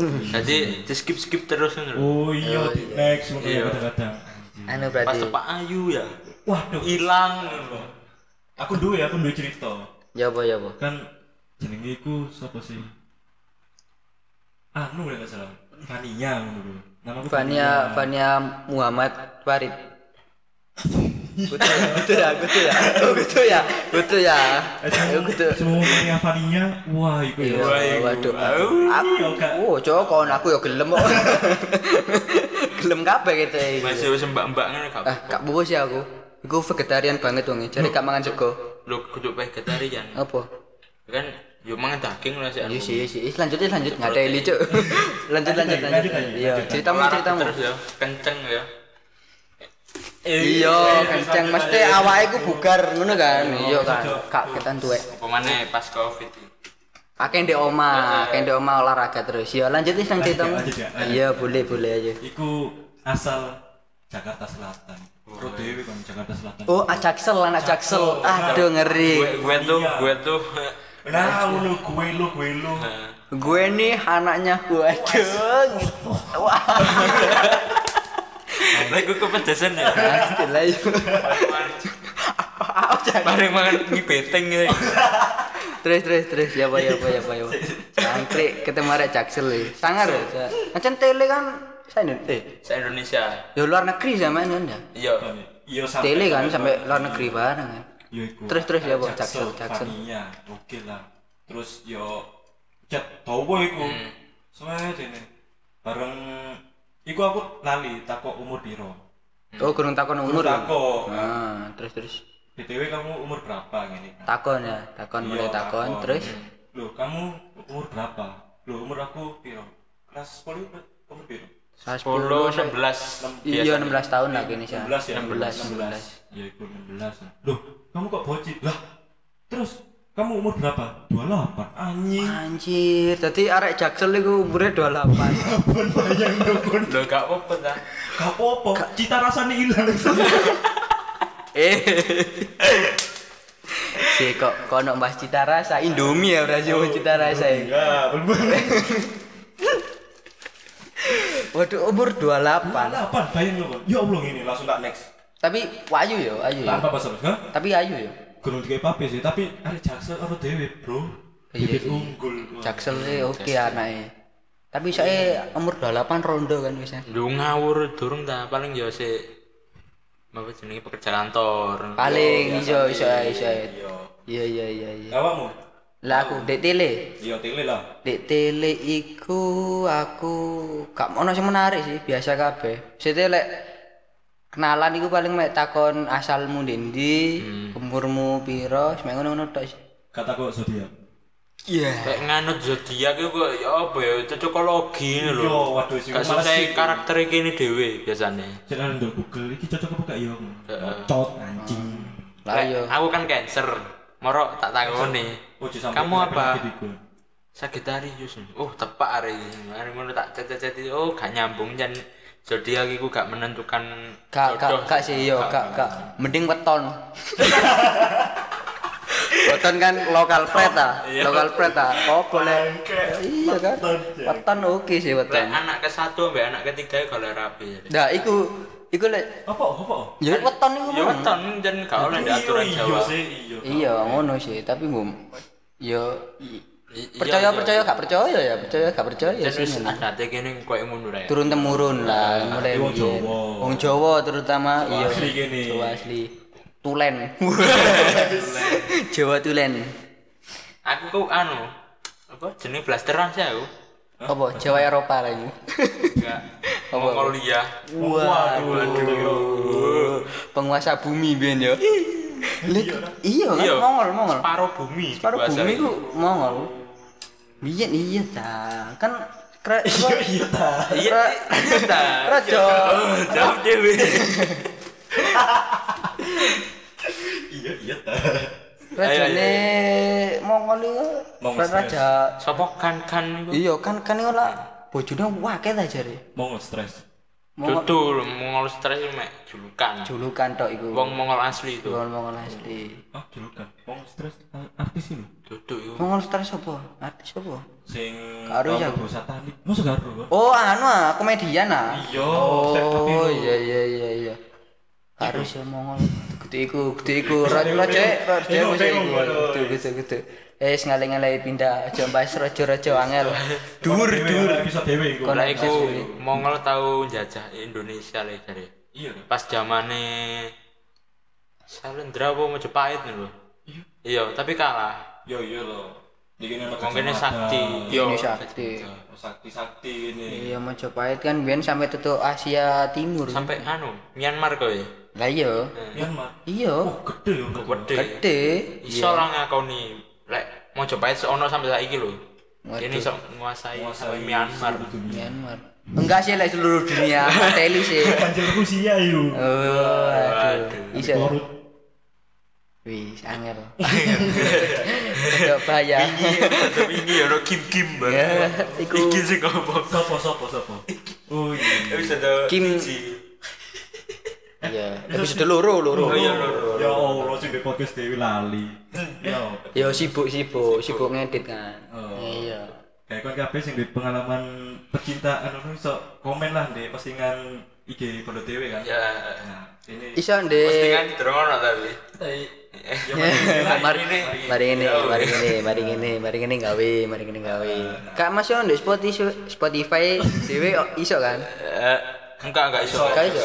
S2: Hmm.
S1: Jadi di skip skip terus ngono. lho.
S3: Oh iya, di next mungkin ya kadang-kadang.
S2: anu
S1: Pas
S2: berarti.
S1: tepak ayu ya.
S3: Waduh,
S1: Hilang ngono.
S3: aku duwe, aku duwe cerita.
S2: Ya apa ya apa.
S3: Kan jenenge iku sapa sih? Anu lek gak salah. Fania ngono dulu. Namaku
S2: Fania Fania Muhammad Farid. Betul ya, betul ya, betul ya, Oh, betul ya, betul ya, Oh, betul.
S3: Semua Fania Fania, wah iku
S2: Iya,
S3: ya.
S2: waduh, aku,
S3: Iya, Kak.
S2: oh, cowok kon aku ya gelem kok, gelem kabeh gitu ya.
S1: Masih wis mbak-mbak ngono gak
S2: Ah, kak bubus ya aku, e, aku vegetarian banget wong, jadi kak mangan sego,
S1: lu kudu vegetarian
S2: apa?
S1: kan yo mangan daging lah sih aku.
S2: Iya sih, iya sih. Ih, Lanjut, ih, lanjut, nggak ada ini cuk. Lanjut, lanjut,
S3: lanjut,
S2: lanjut.
S3: lanjut,
S2: Iya,
S3: lanjut.
S2: ceritamu,
S1: Olahraga
S2: ceritamu.
S1: terus ya kenceng ya
S2: Iya, kenceng. Mesti awalnya ku bugar, ngono kan? Iya kan. Kak, ketan tuwek.
S1: apa mana pas covid ini.
S2: Akeh di oma, akeh di oma olahraga terus. Iya, lanjut ih, lanjut ceritamu.
S3: lanjut ya, lanjut.
S2: Iya, boleh, boleh aja.
S3: Iku asal Jakarta Selatan. Pro Dewi kan Jakarta Selatan.
S2: Oh, ajaksel, anak jaksel. Aduh,
S1: gue
S2: ngeri.
S1: gue tuh
S3: Iya.
S1: gue tuh
S3: Nah, lu gue lu gue lu.
S2: Gue nih anaknya gue aduh. Wah,
S1: lah gue kepedesan ya
S2: pasti lah. iya. Apa aja?
S1: bareng mangan mie beteng gitu
S2: Terus terus terus ya apa ya apa ya apa ya. Sangkrik ketemu arek jaksel iki. Sangar ya. Macam tele kan saya Indo- eh
S1: se Indonesia
S2: ya luar negeri zaman kan ya.
S1: iya
S3: Iya sampai-
S2: Tele kan sampai luar negeri bareng kan.
S3: Yo iku.
S2: Terus, terus, ya, Bang.
S3: Jaksel,
S2: Jaksel, Jaksel.
S3: Fania, oke lah. Terus yo cet towo iku.
S2: Hmm.
S3: Suwe dene. Bareng iku aku lali takok umur piro.
S2: Oh kurang takon umur. ya?
S3: Takok.
S2: Ah, terus terus
S3: BTW kamu umur berapa ngene kan?
S2: takon ya, takon mulai
S3: Iya,
S2: takon terus
S3: Loh, kamu umur berapa? Loh, umur aku piro? Kelas 10 ber- umur piro?
S1: 10 11
S2: Iya 16 tahun lagi nih saya.
S3: 16 ya?
S2: 16,
S3: 16. Ya, itu 16. Loh, kamu kok bocil? Lah, terus kamu umur berapa? 28. Anjing.
S2: Anjir, tadi arek jaksel iku umure 28.
S3: Pun bayang dong, pun.
S1: lo gak apa-apa ta
S3: Gak apa-apa, cita rasanya hilang.
S2: eh. Si kok kono Mbah Cita Rasa Indomie ya berarti oh, Cita Rasa ya.
S3: Ya, pun bayang.
S2: Waduh umur 28.
S3: 28, bayang lo, Pun. Ya Allah, ini langsung tak next.
S2: Tapi wayu yo, ayu yo.
S3: Tak apa-apa, Sobat. Hah?
S2: ya? Tapi ayu ya? yo.
S3: Gurung dikai pape sih, tapi ada jaksa karo dewe, bro.
S2: Iya
S3: Bibit
S2: sih.
S3: unggul. Wah.
S2: Jaksel sih oke anaknya. Tapi saya umur 28 rondo kan biasanya.
S3: Iya,
S1: lu ngawur durung ta paling ya se apa jenenge pekerja kantor
S2: Paling iso iso iso.
S3: Iya.
S2: Iya iya iya iya.
S3: Awakmu?
S2: Lah aku dek tele.
S3: Iya, tele lah.
S2: Dek tele iku aku gak ono sing menarik sih, biasa kabeh. Sete lek kenalan iku paling mek takon asalmu ndendi, umurmu piro, semek ngono-ngono tok sih.
S3: kata kok zodiak
S2: Iya.
S1: kayak nganut zodiak itu kok ya apa ya cocokologi ini
S3: Yo,
S1: lho
S3: waduh Iya. sih
S1: gak sesuai karakter ini dewe biasanya
S3: jangan ndok Google iki cocok apa gak yo cocok anjing
S2: Lah iya. yo.
S1: aku kan cancer moro tak takoni
S3: Ojo sampe
S1: kamu
S3: kena
S1: apa
S3: penyakit iku.
S1: Sagitarius oh tepak hari ini hari ini tak cet-cet oh gak nyambung jan zodiak iku gak menentukan
S2: Kak,
S1: jodoh.
S2: kak, kak sih, yo, kak, kak. Mending weton. weton kan lokal preta, ta, lokal preta. Oh, boleh. Iya kan. Weton oke sih
S1: Lek
S2: weton.
S1: anak ke satu mbak anak ketiga kalau rapi ya.
S2: Nah, iku iku lek
S3: apa apa
S2: ya weton iku
S1: ya
S2: mah.
S1: weton jan gak oleh ada aturan
S3: Iya,
S1: Jawa
S3: iya sih iya
S2: Iya, ngono sih, tapi gum yo i-
S1: I- iya, iya.
S2: percaya percaya gak iya, percaya ya, percaya gak percaya
S1: Jan
S2: sih.
S1: wis adate kene koyo ngono rek
S2: Turun temurun lah, mulai
S3: wong
S2: biyen.
S3: Jawa.
S2: Wong Jawa terutama iya.
S3: asli kene.
S2: Jawa asli. Tulen. Jawa tulen.
S1: aku kok anu apa jenis blasteran sih aku
S2: Apa Jawa Eropa lah ini.
S1: enggak Mongolia
S2: Waduh. Penguasa bumi biyen yo. Lek- Iya kan
S1: Iya.
S2: Mongol Mongol.
S1: separuh bumi
S2: Separuh
S1: bahasa
S2: bumi
S1: ini.
S2: ku Mongol. Biyen iya ta. Kan kre
S3: iya ta
S1: iya
S2: Ra-
S1: iya, ta.
S2: Raja.
S1: Oh, jawab dewe
S3: iya iya ta
S2: rajane Mongol iku
S3: Mongol
S2: raja.
S1: sapa kan kan iku
S2: Iya kan kan iku lah bojone akeh ta jare.
S3: mau stres
S2: Mongol
S1: Dudul, Mongol stres itu mek julukan.
S2: julukan tok iku.
S1: Wong Mongol asli itu.
S2: Mongol Mongol asli.
S3: ah julukan mau stres ah, artis ini
S1: Duduk itu.
S2: Mongol stres apa? Artis apa?
S3: sing
S2: Karo siapa?
S3: Prabowo satanik masa karo Bang?
S2: Oh, anu ah, komedian ah.
S3: iya stres tapi
S2: Oh
S3: lu.
S2: iya iya iya iya. Harus ya mongol. Gede iku, gede iku. Raja raja raja
S3: Bingung,
S2: wis iku.
S3: bingung, waduh.
S2: Gede gede gede. Eh ngalih-ngalih pindah aja mbas raja-raja angel. Dhuwur
S3: Dewe,
S2: dhuwur.
S3: ora bisa dewe iku
S1: Lah
S2: Kon-
S1: iku Mongol tau jajah Indonesia le jare.
S3: iya ta?
S1: Pas zamane Salendra apa Majapahit lho. Iya, tapi kalah.
S3: iya iya lo Dikene ono
S1: Wong kene
S3: kacamata.
S1: sakti.
S2: Ini sakti.
S3: Oh, Iya. sakti-sakti ini
S2: Iya Majapahit kan biyen sampai tetu Asia Timur.
S1: Sampai anu, Myanmar kok ya.
S2: Lah iya.
S3: Myanmar
S2: Iya.
S3: gede ya
S1: Gede.
S2: Gede.
S1: Iya. Iso lah ngakoni lek mau coba itu ono sampai saiki lho. Ini
S2: Waduh.
S1: sok nguasai sampai Myanmar.
S3: dunia
S2: Myanmar. Enggak sih like seluruh dunia, teli sih.
S3: Anjir Rusia
S2: Oh,
S3: yuk
S1: Waduh.
S2: aduh. Iso.
S3: Korut.
S2: Iya. Wis angel. Coba bahaya.
S1: Tapi ini ya ono Kim Kim
S2: Ya,
S1: banget.
S2: iku.
S1: Iki sing apa?
S3: Sopo sopo sopo. Oh iya.
S1: Wis ada
S2: Kim.
S1: siji.
S2: Ya, episode loro loro.
S1: iya, loro.
S3: Ya Allah sing di podcast Dewi lali. Ya.
S2: Ya sibuk sibuk sibuk ngedit kan.
S3: Oh.
S2: Iya.
S3: Kayak kon kabeh sing di pengalaman percintaan ngono iso komen lah di postingan IG Pondok Dewi kan.
S1: Ya.
S3: Nah, ini
S2: Iso ndek.
S1: Postingan dorong ono tapi.
S3: ya
S2: mari ini, mari ini, mari ini, mari ini, mari ini gawe, mari ini gawe. Kak Mas yo ndek Spotify Spotify dhewe iso kan?
S1: Eh, enggak enggak iso.
S2: Gak iso.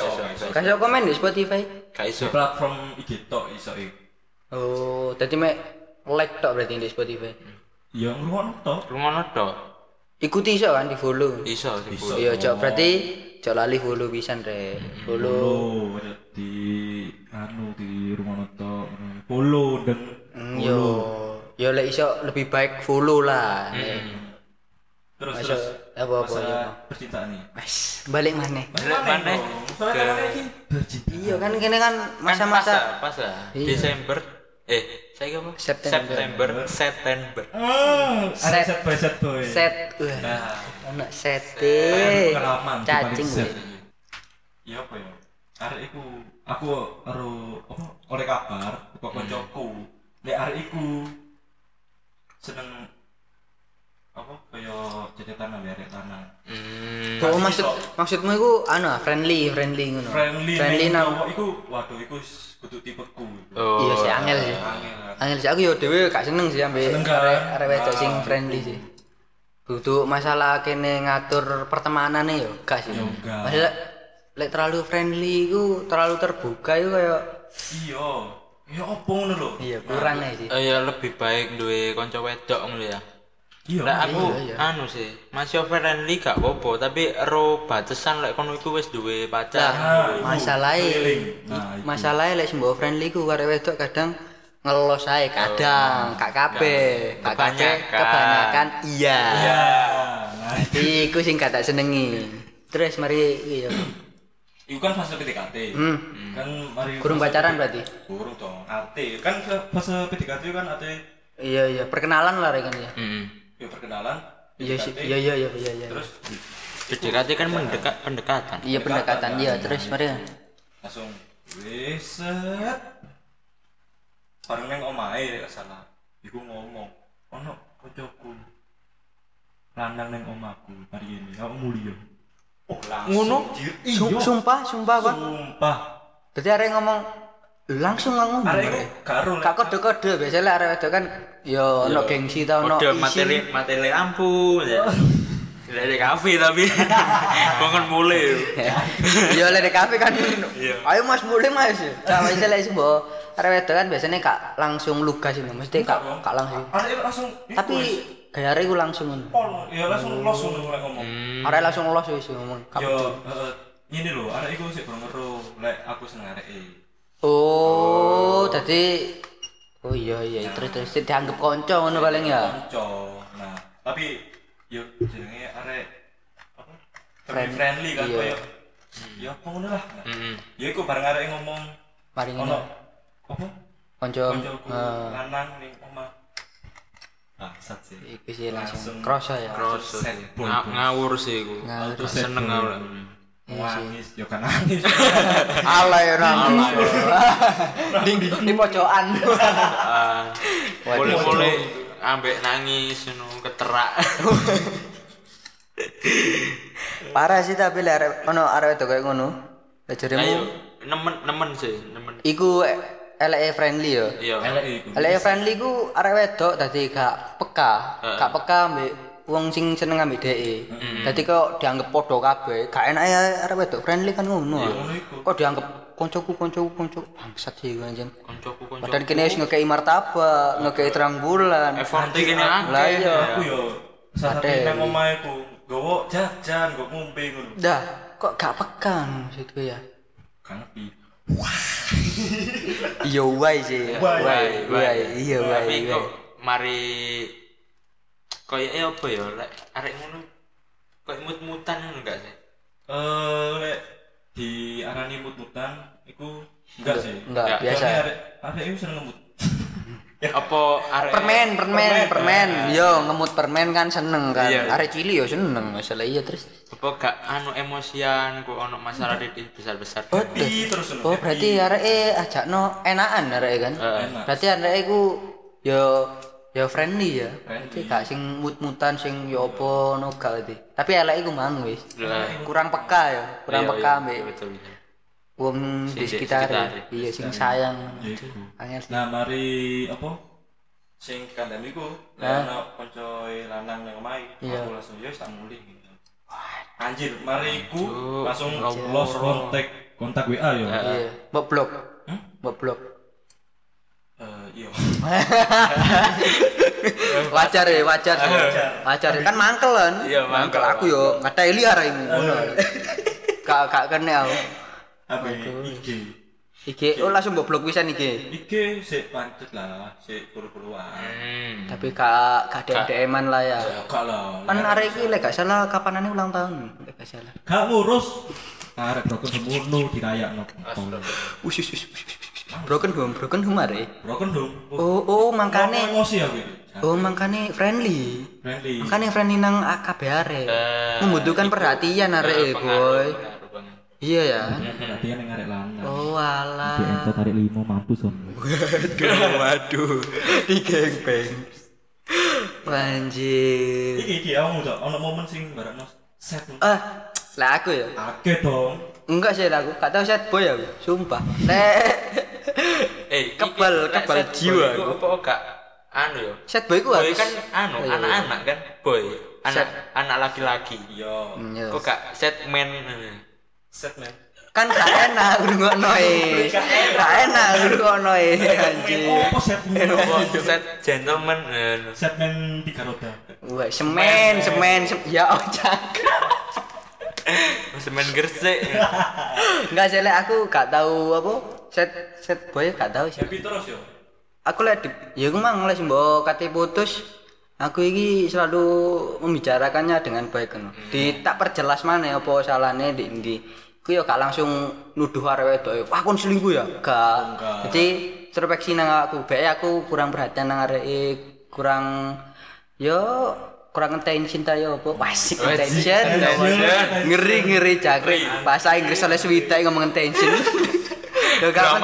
S2: Gak iso komen di Spotify.
S1: Gak iso.
S3: di platform IG tok iso e.
S2: Oh, tadi mek like tok berarti di Spotify.
S3: Ya ngono tok.
S1: Rungono tok.
S2: Ikuti iso kan di follow.
S1: Iso sih. Bu.
S2: Iya, cok berarti cok lali follow pisan rek. Follow.
S3: Follow di anu di rumah noto follow dan
S2: Mm, Yo, yo lek iso lebih baik follow lah. Hmm,
S3: terus
S2: Masuk
S3: terus
S2: apa-apa yo.
S3: masalah percintaan nih
S2: Mas, balik maneh.
S1: Balik maneh
S3: soalnya
S1: ke-
S3: kemarin ini bercinta
S2: Iya kan kene kan
S1: Kan pas
S2: masa-masa
S1: ah, pas ah.
S2: Iya.
S1: Desember. Eh, saya apa?
S2: September.
S1: September. September.
S3: ah ada
S2: Set.
S3: set boy set boy
S2: set. Wah,
S3: nah
S2: ono
S3: Iya,
S2: sete.
S3: pengalaman
S2: Cacing.
S3: set
S2: weh.
S3: iya apa ya arek iku aku ero apa oleh kabar kok
S1: Hmm.
S3: koncoku nek arek iku seneng apa kaya cetetan tanah arek tanah
S1: Hmm.
S2: Oh, maksud maksudmu iku anu ah, friendly, friendly ngono.
S3: friendly
S2: friendly
S3: nang
S2: nang
S3: cowok iku waduh iku s- kudu tipeku
S1: Oh.
S2: Iya sih angel sih.
S3: Angel.
S2: Angel sih aku yo dhewe gak seneng sih ambe
S3: Seneng kan?
S2: arek arek wedok sing
S3: Ah,
S2: friendly sih. Kudu masalah kene ngatur pertemanane yo gak sih.
S3: Yo, gak.
S2: Masalah lek terlalu friendly iku terlalu terbuka iku kayak
S3: iya iya opo ngono lho
S2: iya kurang ae sih.
S1: Eh, ya lebih baik duwe kanca wedok ngono ya.
S3: iya
S1: Lah aku
S2: iya.
S1: anu sih, masih friendly gak apa-apa, tapi ro batesan lek kono iku wis duwe pacar.
S2: Nah,
S3: iku,
S2: e-
S3: keliling.
S2: masalahe
S3: Nah, iku.
S2: masalahe e lek sembo friendly ku arek wedok kadang ngelos ae kadang gak kabeh, gak kabeh
S1: Kebanyakan.
S2: kebanyakan iya.
S3: iya nah
S1: Iya.
S2: Iku sing gak tak senengi. Terus mari iya.
S3: Iku kan fase PDKT.
S2: Hmm.
S3: Kan mari
S2: Kurung
S3: fase
S2: pacaran
S3: PDKT.
S2: berarti?
S3: Kurung dong. Ate kan fase- fase PDKT kan ate
S2: Iya iya, perkenalan lah rekan ya.
S1: Heeh.
S3: ya perkenalan.
S2: Iya sih,
S3: PDKT,
S2: iya iya iya iya iya.
S3: Terus
S1: PDKT kan mendekat pendekatan.
S2: Iya pendekatan iya terus mari.
S3: langsung wiset. Bareng neng omahe nek gak salah. Iku ngomong, ono kancaku lanang neng omaku hari ini aku mulia oh langsung
S2: Ngono?
S3: anjir.
S2: Sum-
S3: iya
S2: Sumpah, sumpah kon.
S3: sumpah
S2: Berarti arek ngomong langsung nggak ngomong.
S3: arek
S2: Arek.
S3: iku karo
S2: Kak kode-kode biasanya lah arek wedok kan yo ono gengsi ta ono
S1: Udah
S2: isi. Oh.
S1: materi materi lampu ya. Dari kafe tapi kan bangun mulai.
S2: Yo lek di kafe kan.
S1: Iya.
S2: Ayo Mas mulai Mas. Cawak itu lek sembo arek wedok kan biasanya kak langsung lugas ini mesti kak kak langsung.
S3: arek iku langsung iku,
S2: Tapi
S3: wis.
S2: gaya arek iku langsung ngono.
S3: pol ya langsung los ngono mulai ngomong
S2: Arek langsung los wis ngomong. Kak-
S3: ya eh, ini lho arek iku sik belum ngeru lek aku seneng arek e
S2: Oh, jadi Oh iya iya terus terus dianggap konco ngono paling ya.
S3: kanca nah tapi yo jenenge arek apa friendly friendly kan
S2: Iya. Hmm.
S3: koyo ya apa ngono lah Nah,
S1: Heeh.
S3: ya iku bareng arek ngomong
S2: Mari
S3: ono
S2: ngono.
S3: apa
S2: Konco.
S3: kancaku
S2: eh,
S3: lanang ning omah ah sat sih
S2: Iku sih langsung kroso ya.
S1: Terus mm,
S3: Set, boy,
S1: nga-
S3: boy.
S1: ngawur sih iku.
S2: Ngawur.
S1: Seneng ngawur.
S3: nangis yo kan nangis
S2: Alay ora. Di di pojokan.
S1: Ah, Mulai-mulai ambek nangis ngono keterak.
S2: Parah sih tapi lek arek- ono arek wedok kaya ngono. Lek
S1: Ayo
S2: jaremu
S1: nemen-nemen sih, nemen.
S2: iku e- eleke friendly ya.
S1: Iya.
S3: elek iku
S2: Eleke friendly ku arek wedok dadi gak peka, gak peka ambek wong sing seneng ambek dhek. Dadi kok dianggep padha kabeh. Gak enak ya arek wedok friendly kan ngono.
S3: ngono iku
S2: Kok dianggep koncoku koncoku konco bangsat sih iku anjen.
S1: Koncoku koncoku.
S2: Padahal kene wis ngekei martabak, ngekei terang bulan.
S1: Effort Eh, gini
S2: ah,
S1: ah.
S2: Lah
S1: akeh.
S2: iya.
S3: aku yo saat
S2: Ate.
S3: nang omahe ku gowo jajan kok ngombe ngono
S2: Dah, kok gak peka maksudku ya.
S3: kanepi
S2: Iya wai sih.
S1: Why,
S2: Wai, wai, iya wai.
S1: Tapi
S2: wai.
S1: kok mari koyoke apa ya lek arek ngono koyo mut-mutan ngono enggak sih?
S3: Eh, lek di arani mut-mutan iku enggak sih.
S1: Enggak,
S2: Enggak, biasa.
S3: Soalnya arek arek iku seneng ngemut.
S1: Apa arek
S2: Permen, permen,
S3: Permen,
S2: permen. Yo ngemut permen kan seneng kan.
S1: Iya.
S2: Arek cilik yo seneng masalah iya terus.
S1: apa gak anu emosian ku ono masalah titik besar-besar.
S2: Oh,
S3: Happy terus seneng.
S2: oh berarti arek e ajakno enakan arek e kan.
S3: Enak.
S2: Berarti arek e ku yo yo friendly ya. Berarti
S3: Friendly.
S2: gak sing mut-mutan sing yo apa no gak berarti. Tapi elek iku mang wis.
S1: Lah,
S2: Kurang peka ya,
S1: iya,
S2: kurang peka
S1: iya,
S2: mbek
S1: betul, betul.
S2: wong
S1: Sing di
S2: di sekitar.
S1: sekitare.
S2: Iya sing sayang.
S3: Ya iku.
S2: Angel.
S3: Nah, mari apa? Sing kandhani iku lek ana kanca lanang nang omahe,
S2: Iya.
S3: aku langsung yo wis tak muli. Anjir, mari iku langsung
S2: Ya
S3: lost contact kontak WA yo.
S2: Iya, mbok blok. Mbok blok.
S3: Eh, iya.
S2: wajar ya wajar ya. wajar ya. kan mangkel kan
S1: Iya, mangkel.
S2: aku yo nggak ada liar ini ngono kak kak kena aku
S3: Apa ya? IG?
S2: iki oh langsung mbok blok pisan iki
S3: Iki sik pancet lah, sik buru-buruan.
S1: Hmm.
S2: tapi kak kak ada DM-an lah ya
S3: Gak lah.
S2: kan arek iki lek gak salah kapanane ulang tahun lek gak salah
S3: Gak ngurus. Arek broken semono dirayak no.
S2: usus usus broken home broken home arek
S3: Broken dong.
S2: oh oh
S3: Ngomong
S2: mangkane
S3: emosi aku iki.
S2: oh mangkane friendly
S3: Friendly.
S2: mangkane friendly nang AKB arek
S1: Eh,
S2: membutuhkan perhatian arek boy
S1: Pengaruh banget.
S2: iya ya
S3: Perhatian yang arek lanang.
S2: oh alah
S3: Entar tarik limo mampus on.
S2: Waduh, waduh, di gengbeng. Anjir.
S3: Iki iki aku udah ono momen sing bareng nos set.
S2: Ah, lah aku ya.
S3: Akeh dong.
S2: Enggak sih lah aku, gak tau set boy aku, sumpah. Lek
S1: Eh, iki
S2: Kebal-
S1: lek
S2: kebal
S1: set boy
S2: jiwa
S1: iku
S2: aku.
S1: Apa gak anu yo?
S2: set boy ku
S1: Boy
S2: harus
S1: kan anu
S2: Iya, iya.
S1: anak-anak kan boy. Anak
S2: Set.
S1: anak laki-laki.
S3: Iya.
S2: Hmm, iya.
S1: Kok gak set men eh.
S3: Set men.
S2: kan gak enak ngrungokno e. Gak enak ngrungokno e anjir.
S3: Apa set men?
S1: Kok set gentleman eh,
S3: Set men tiga roda.
S2: Wah, semen, semen, sem- ya ojak.
S1: Mas men gresik.
S2: Enggak sih lek aku gak tau apa set set boy gak tau sih.
S3: Happy terus yo.
S2: aku lihat di- ya aku mang les mbok kate putus aku iki selalu membicarakannya dengan baik kan di tak perjelas mana apa salahnya di di aku ya gak langsung nuduh arek wedok wah kon selingkuh ya gak jadi terpeksi nang aku bae aku kurang perhatian nang arek e, kurang yo kurang ngenteni cinta ya apa wasik intention ngeri ngeri jangkrik bahasa Inggris oleh Swida ngomong intention ya gak penting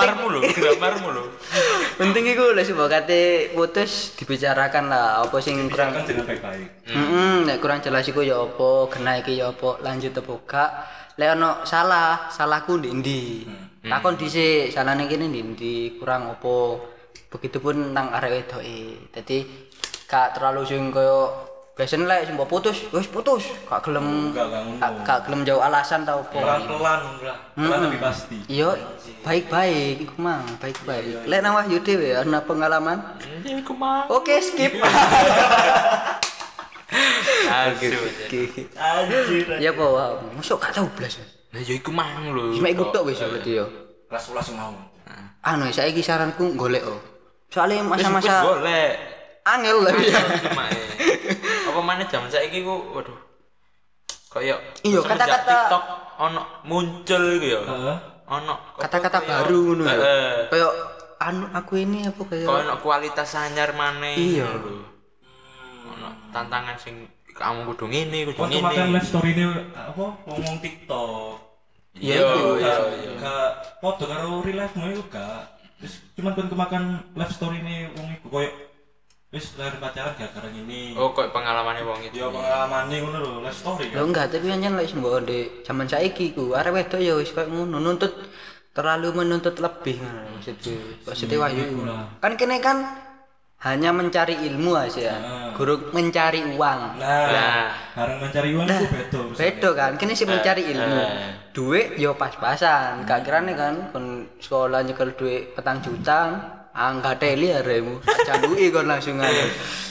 S1: Gramar mulu, gramar mulu.
S2: penting iku lek sebokate putus dibicarakan lah apa sing kurang
S3: Kan jeneng baik-baik.
S2: heeh nek kurang jelas iku ya apa kena iki ya apa lanjut apa gak lek ono salah salahku ndi ndi takon dhisik salahne kene ndi ndi kurang apa begitupun nang arek wedoke dadi gak terlalu sing koyo biasanya lek sumpah putus wis putus gak gelem
S3: Enggak, enggak ngono.
S2: gak gak gelem jauh alasan tau apa
S3: Pelan-pelan lah. Pelan
S2: Hmm.
S3: tapi pasti.
S2: Iya, baik-baik, iku mang, baik-baik. Lek nang Wahyu dhewe ana pengalaman?
S1: Ini ku mau.
S2: Oke, skip.
S1: Asu.
S3: Anjir.
S2: ya apa wow. Mosok gak tau blas.
S1: Nah, yo iku mang lho.
S2: Cuma iku tok wis ya, berarti yo.
S3: Ulas-ulas mau.
S2: Anu, saiki saranku golek oh. Soale
S1: Masa
S2: masa-masa
S1: golek.
S2: angel lah ya.
S1: Cuma, eh, Apa mana zaman saiki ku waduh. Kayak
S2: Iya,
S1: semenjak
S2: kata-kata-
S1: TikTok ono muncul gitu ya.
S3: Heeh.
S1: Ono
S2: Kata-kata
S1: kayak-
S2: baru ngono ya.
S1: Heeh.
S2: Kayak anu aku ini apa kayak
S1: Kau ono kualitas anyar maneh.
S2: Iya.
S1: lho. Ono tantangan sing kamu kudu ngene, kudu
S3: Kau
S1: ngene.
S3: cuma kan live story ini apa ngomong TikTok.
S1: Iya,
S3: Iku
S1: iya,
S3: gak-
S1: iya.
S3: Gak foto karo real life mu itu gak. Terus cuman kan kemakan live story ini wong iku koyo wis lahir pacaran gara-gara ini.
S1: Oh, kok pengalamannya wong itu.
S3: Ya pengalaman ngono lho, live story
S2: Lho
S3: kan.
S2: enggak, tapi anjen lek mbok ndek zaman saiki ku arek wedok ya wis koyo ngono nuntut terlalu menuntut lebih ngono maksudku. Maksudnya Wahyu. Kan kene kan hanya mencari ilmu aja ya. Guru mencari uang.
S1: Nah.
S3: Nah, bareng mencari uang itu beda. urusannya.
S2: Bedo kan, kini sih mencari
S1: Eh,
S2: ilmu. Duit yo pas-pasan. Gak kirane kan kon sekolah nyekel duit petang juta, angga teli aremu. Jalui kon langsung aja.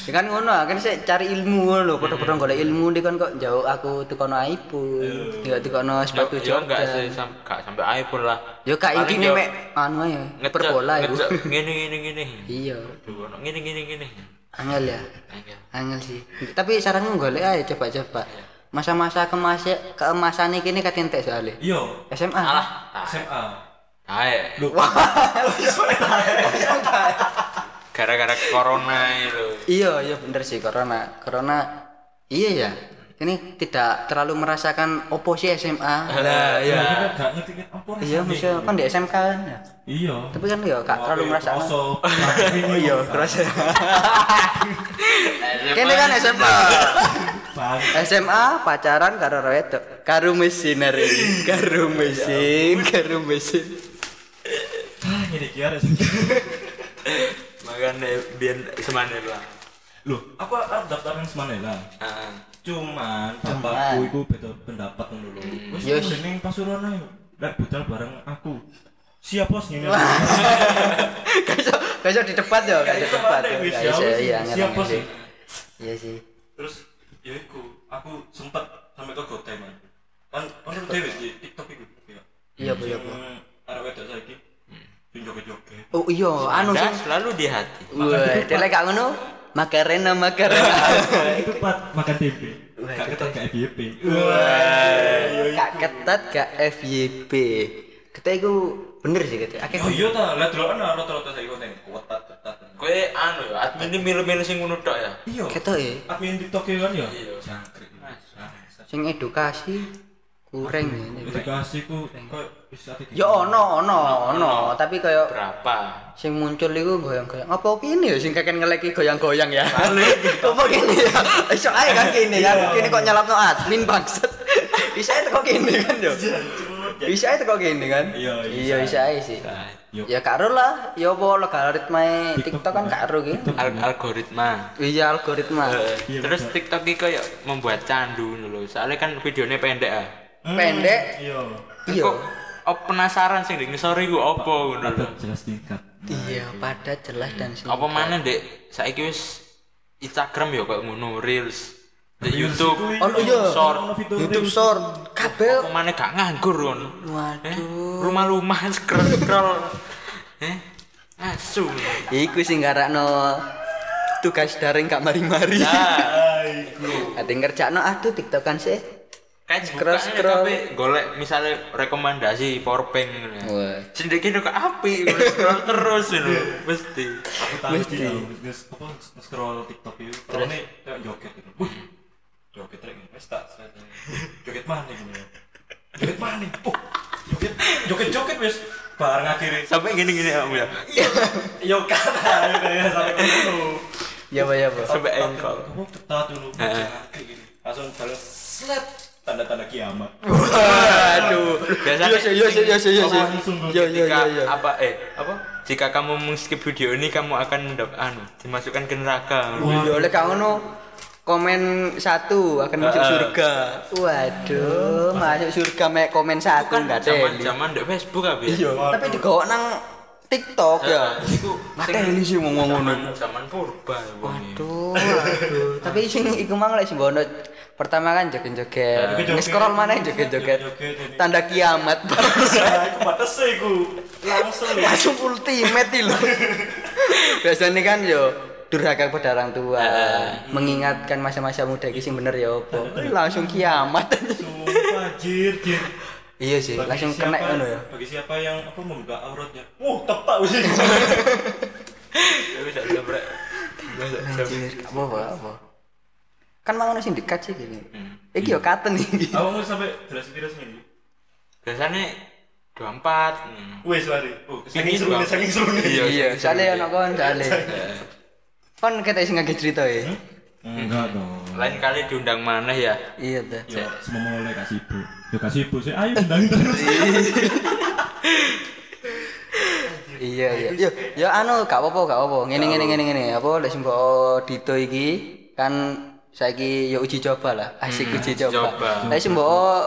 S2: Ya kan ngono, kan sih cari ilmu lho, padha-padha golek
S1: Hmm.
S2: ilmu di kon kok jauh aku tekono iPhone. Yo tekono
S1: Yo,
S2: sepatu
S1: yo enggak
S2: Jordan.
S1: sih sam, gak sampai iPhone lah.
S2: Yo gak
S1: Paling
S2: intine
S1: yo
S2: mek anu ae
S1: ngecek-
S2: perbola ya. iku.
S1: ngecek Ngene ngene ngene.
S2: Iya.
S1: Aduh, ono ngene ngene ngene.
S2: Angel ya.
S1: Angel.
S2: Angel sih. Tapi saranku golek ae coba-coba.
S1: Iya.
S2: Masa-masa kemasnya keemasannya kini katin tek soalnya.
S3: Iya,
S2: SMA.
S1: Alah,
S2: Ah.
S1: tai.
S3: SMA.
S1: Tai.
S3: Lu.
S1: Gara-gara corona itu.
S2: Iya, iya bener sih corona. Corona iya ya. Ini tidak terlalu merasakan opo sih SMA.
S1: Lah,
S3: Ya, kita gak ngerti kan apa
S2: Iya,
S3: rasanya.
S2: misal kan di SMK kan. ya.
S3: Iya.
S2: Tapi kan ya gak terlalu merasakan.
S3: Oh
S2: Iya, kerasa.
S1: Nah,
S2: Kene kan SMA.
S3: Bang,
S2: SMA pacaran karo wedok. Karo mesin hari ini. Karo mesin, karo mesin.
S3: ah, ini kira
S1: Makanya biar semana lah.
S3: Loh, aku arep daftar yang Semanela.
S1: Ah,
S3: Cuman bapakku iku beda pendapat ngono lho. Wis
S2: Yes.
S3: yes. ning Pasuruan ayo. Lek budal bareng aku. Siap bos ngene.
S2: Kaiso, kaiso di depan ya, kaiso di depan. ya.
S3: Siap, siap,
S2: Kaiso iya
S3: siap,
S2: ngerti,
S3: bos.
S2: ngerti. Iya sih.
S3: Terus ya iku, aku sempet sampe ke Gotai man. Kan ono dhewe di TikTok iku. ya.
S2: Iya, Bu, iya, Bu.
S3: Sing Arep wedok saiki. Sing joget-joget.
S2: Oh iya, anu
S1: Anda
S2: sing
S1: selalu di hati.
S2: Wah, dia lek gak ngono, makarena makarena.
S3: Itu pat makan tempe. Gak ketok gak FYP.
S2: Gak ketat gak FYP. Kita itu bener sih gitu. Akeh
S3: Yo yo Oh, iya ta, lek deloken rata-rata saiki konten kuat ketat.
S1: Kue anu ya, admin ini milu-milu sing ngono tok ya.
S3: Iya.
S2: ketok ya.
S3: Admin TikTok ya kan ya?
S1: Iya.
S3: Jangkrik.
S2: Sing edukasi kurang ya. ini.
S3: Edukasi ku kok bisa titik.
S2: Ya ono ono ono, tapi kayak
S1: Berapa?
S2: sing muncul iku goyang-goyang. Apa kini ya sing kakek ngeleki goyang-goyang ya? Apa kini ya? Iso ae kan kini kan. Kini kok nyalapno admin bangset. Bisa ae teko kini kan yo. Bisa ae teko kini kan.
S3: Iya, iya.
S2: Iya bisa ae sih.
S1: Nah,
S3: Yo.
S2: Ya karo lah, ya apa logaritmae TikTok kan karo ki.
S1: Al algoritma.
S2: Iya algoritma.
S1: Eh,
S3: Iya,
S1: Terus TikTok iki kayak membuat candu dulu. Soalnya kan videonya pendek ah.
S2: Pendek.
S3: Iya.
S2: Iya.
S1: Kok oh, penasaran sih ning sore iku opo ngono lho.
S3: jelas tingkat.
S2: Iya, pada jelas dan singkat.
S1: Apa mana Dek? Saiki wis Instagram ya kayak ngono Reels. Di
S3: Reels
S1: YouTube.
S3: itu
S2: Oh iya.
S1: Short.
S2: YouTube short kabel.
S1: Apa mana gak nganggur ngono. Eh,
S2: Waduh.
S1: rumah-rumah scroll scroll. Eh, asu.
S2: Iku sing garakno tugas daring gak mari-mari.
S1: Nah,
S2: Ati ngerjakno aduh TikTokan sih.
S1: kan
S2: Scroll,
S1: scroll
S2: scroll.
S1: scroll golek misalnya rekomendasi powerbank ngono ya.
S2: Wah.
S1: Sendiri kini kok api scroll terus ngono mesti.
S3: Aku tahu
S2: Mesti.
S3: sih, aku nge- apa scroll TikTok itu. Terus ini kayak joget itu. Wih. Joget rek ini wis tak set. Joget mana gini? Joget mana? Oh. Joget joget joget wis bareng akhirnya
S1: Sampai gini-gini kamu ya.
S3: Yo kata ya sampai ketemu.
S2: Ya ba ya ba.
S1: Sampai engkol.
S3: Kamu tetap dulu. Kayak gini. Langsung balas slap tanda-tanda kiamat.
S2: Waduh.
S1: Biasanya-
S2: yo yo yo yo yo. Yo yo
S1: Jika
S2: yo yo.
S1: apa eh apa? Jika kamu mengskip video ini kamu akan mendapat anu dimasukkan ke neraka.
S2: Yo lek gak ngono komen satu akan masuk surga. Waduh, masuk surga mek komen satu enggak
S1: zaman
S2: teli.
S1: zaman kan di Facebook apa ya?
S2: Iya, tapi digawak nang TikTok ya.
S1: Iku
S2: Nggak
S1: sing
S2: teli sih ngomong ngono.
S1: zaman- Zaman purba ya, Waduh.
S2: Aduh, aduh. Tapi sing iku mang lek sembono pertama kan joget-joget.
S3: Joget-joget.
S2: Nge-scroll mana yang joget-joget.
S3: Joget-joget.
S2: Tanda kiamat.
S3: Nah, aku batas iku. Langsung ya.
S2: Langsung ultimate lho. Biasanya kan yo durhaka kepada orang tua, mengingatkan masa-masa muda iki sing bener ya opo. Langsung kiamat.
S3: Sumpah jir jir.
S2: iya sih,
S3: Bagi
S2: langsung
S3: siapa-
S2: kena ngono ya.
S3: Bagi siapa yang apa membuka auratnya. Wah, tepat sih.
S1: Ya wis, gak jembrek. Gak usah jembrek.
S2: Anjir, gak apa-apa, gak apa. Kan mang ono sing dekat sih gini. Iki yo katen iki.
S3: Aku mau sampai jelas jelas ini.
S1: Biasanya 24. hmm.
S3: Wes mari. Oh,
S1: Ini
S3: saking seru nih,
S1: juga.
S3: saking seru nih.
S2: Iya, soalnya ono kon soalnya.
S1: Ya,
S2: Kon kata sing ngake cerita e. ya.
S3: Enggak dong.
S1: Lain kali diundang mana ya?
S2: Iya ta.
S3: Yo, semua mulai kasih ibu. Yo kasih ibu sih. Ayo undang terus.
S2: Iya iya. Yo yo anu gak apa-apa gak apa. Ngene ngene ngene ngene. Apa lek sing mbok dito iki kan saiki yo uji coba lah. Asik uji
S1: Hmm,
S2: coba.
S1: coba.
S2: Lek sing mbok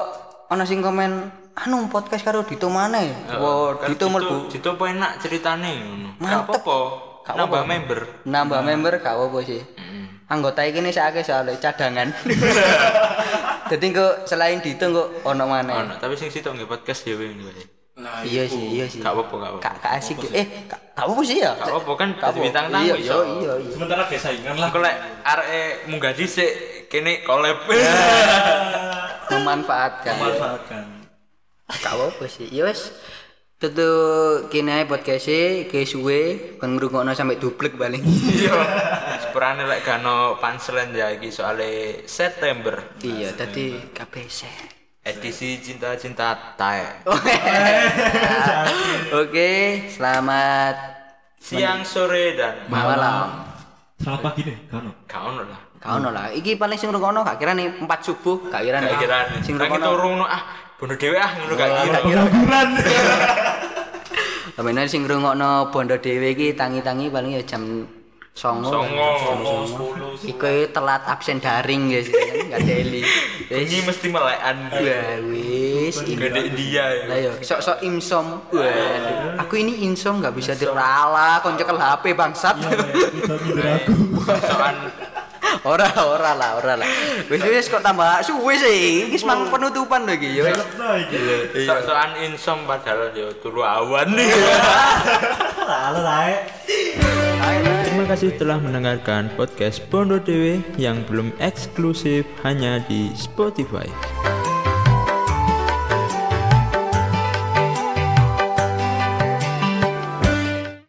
S2: ono sing komen anu podcast karo dito mana ya? Wo
S1: Kan
S2: dito
S1: Dito-
S2: mlebu.
S1: Dito apa enak ceritane ngono. Gak
S2: Mantep.
S1: apa-apa.
S2: Gak
S1: Nambah
S2: apa-apa.
S1: member.
S2: Nambah
S1: Hmm.
S2: member gak apa-apa sih.
S1: Mm.
S2: Anggota iki nih saake soalnya cadangan. Jadi kok selain dito kok ono maneh.
S1: Ono, tapi sing sitok nggih podcast dhewe ngono.
S3: Nah, Nah,
S2: iya
S3: iku.
S2: sih iya sih
S1: Gak apa-apa, gak apa-apa.
S2: Kak- kak asik eh kak gak apa-apa sih ya
S1: Gak apa-apa, kan
S2: Gak apa-apa.
S1: bintang tamu
S2: iya iya
S1: iso.
S2: iya iya
S3: Sementara kayak saingan lah.
S1: Aku lek arek munggah dhisik kene collab.
S2: Iya. memanfaatkan
S3: memanfaatkan.
S2: gak apa-apa sih ya wes tutup kini aja podcast e ke suwe kon ngrungokno sampe duplek paling
S1: Iya. Sepurane lek gano panselen ya iki soale September
S2: iya tadi KPC
S1: edisi cinta-cinta tae.
S2: Oke, selamat
S1: Siang, sore dan
S2: malam.
S3: Selamat pagi deh, Kano.
S1: gak ono lah.
S2: Kau lah. Iki paling sing rungokno gak kira nih 4 subuh, gak kira nih.
S1: Gak kirane.
S2: Sing
S1: Lagi
S2: rungokno.
S1: turu no ah, bunuh dhewe ah ngono gak
S2: Wah,
S1: kira.
S2: gak kira.
S3: Buran.
S2: Sampeyan sing rungokno bondo dhewe iki tangi-tangi paling ya jam 09.00.
S1: Songo.
S2: Iku telat absen daring guys, gak daily.
S1: Ini
S2: Wis.
S1: mesti melekan.
S2: Wah, wis.
S1: Gede India ya.
S2: Lah iya. yo, sok-sok insom. Waduh. Aku ini insom gak bisa dirala, kon cekel HP bangsat.
S1: Sokan
S2: ora ora lah ora lah wis wis kok tambah suwe sih iki semang penutupan lho iki ya wis
S3: Nah, iki.
S1: sokan insom padahal yo turu awan nih.
S2: Iya.
S3: Lalu lah.
S1: Terima kasih telah mendengarkan podcast Bondo Dewe yang belum eksklusif hanya di Spotify.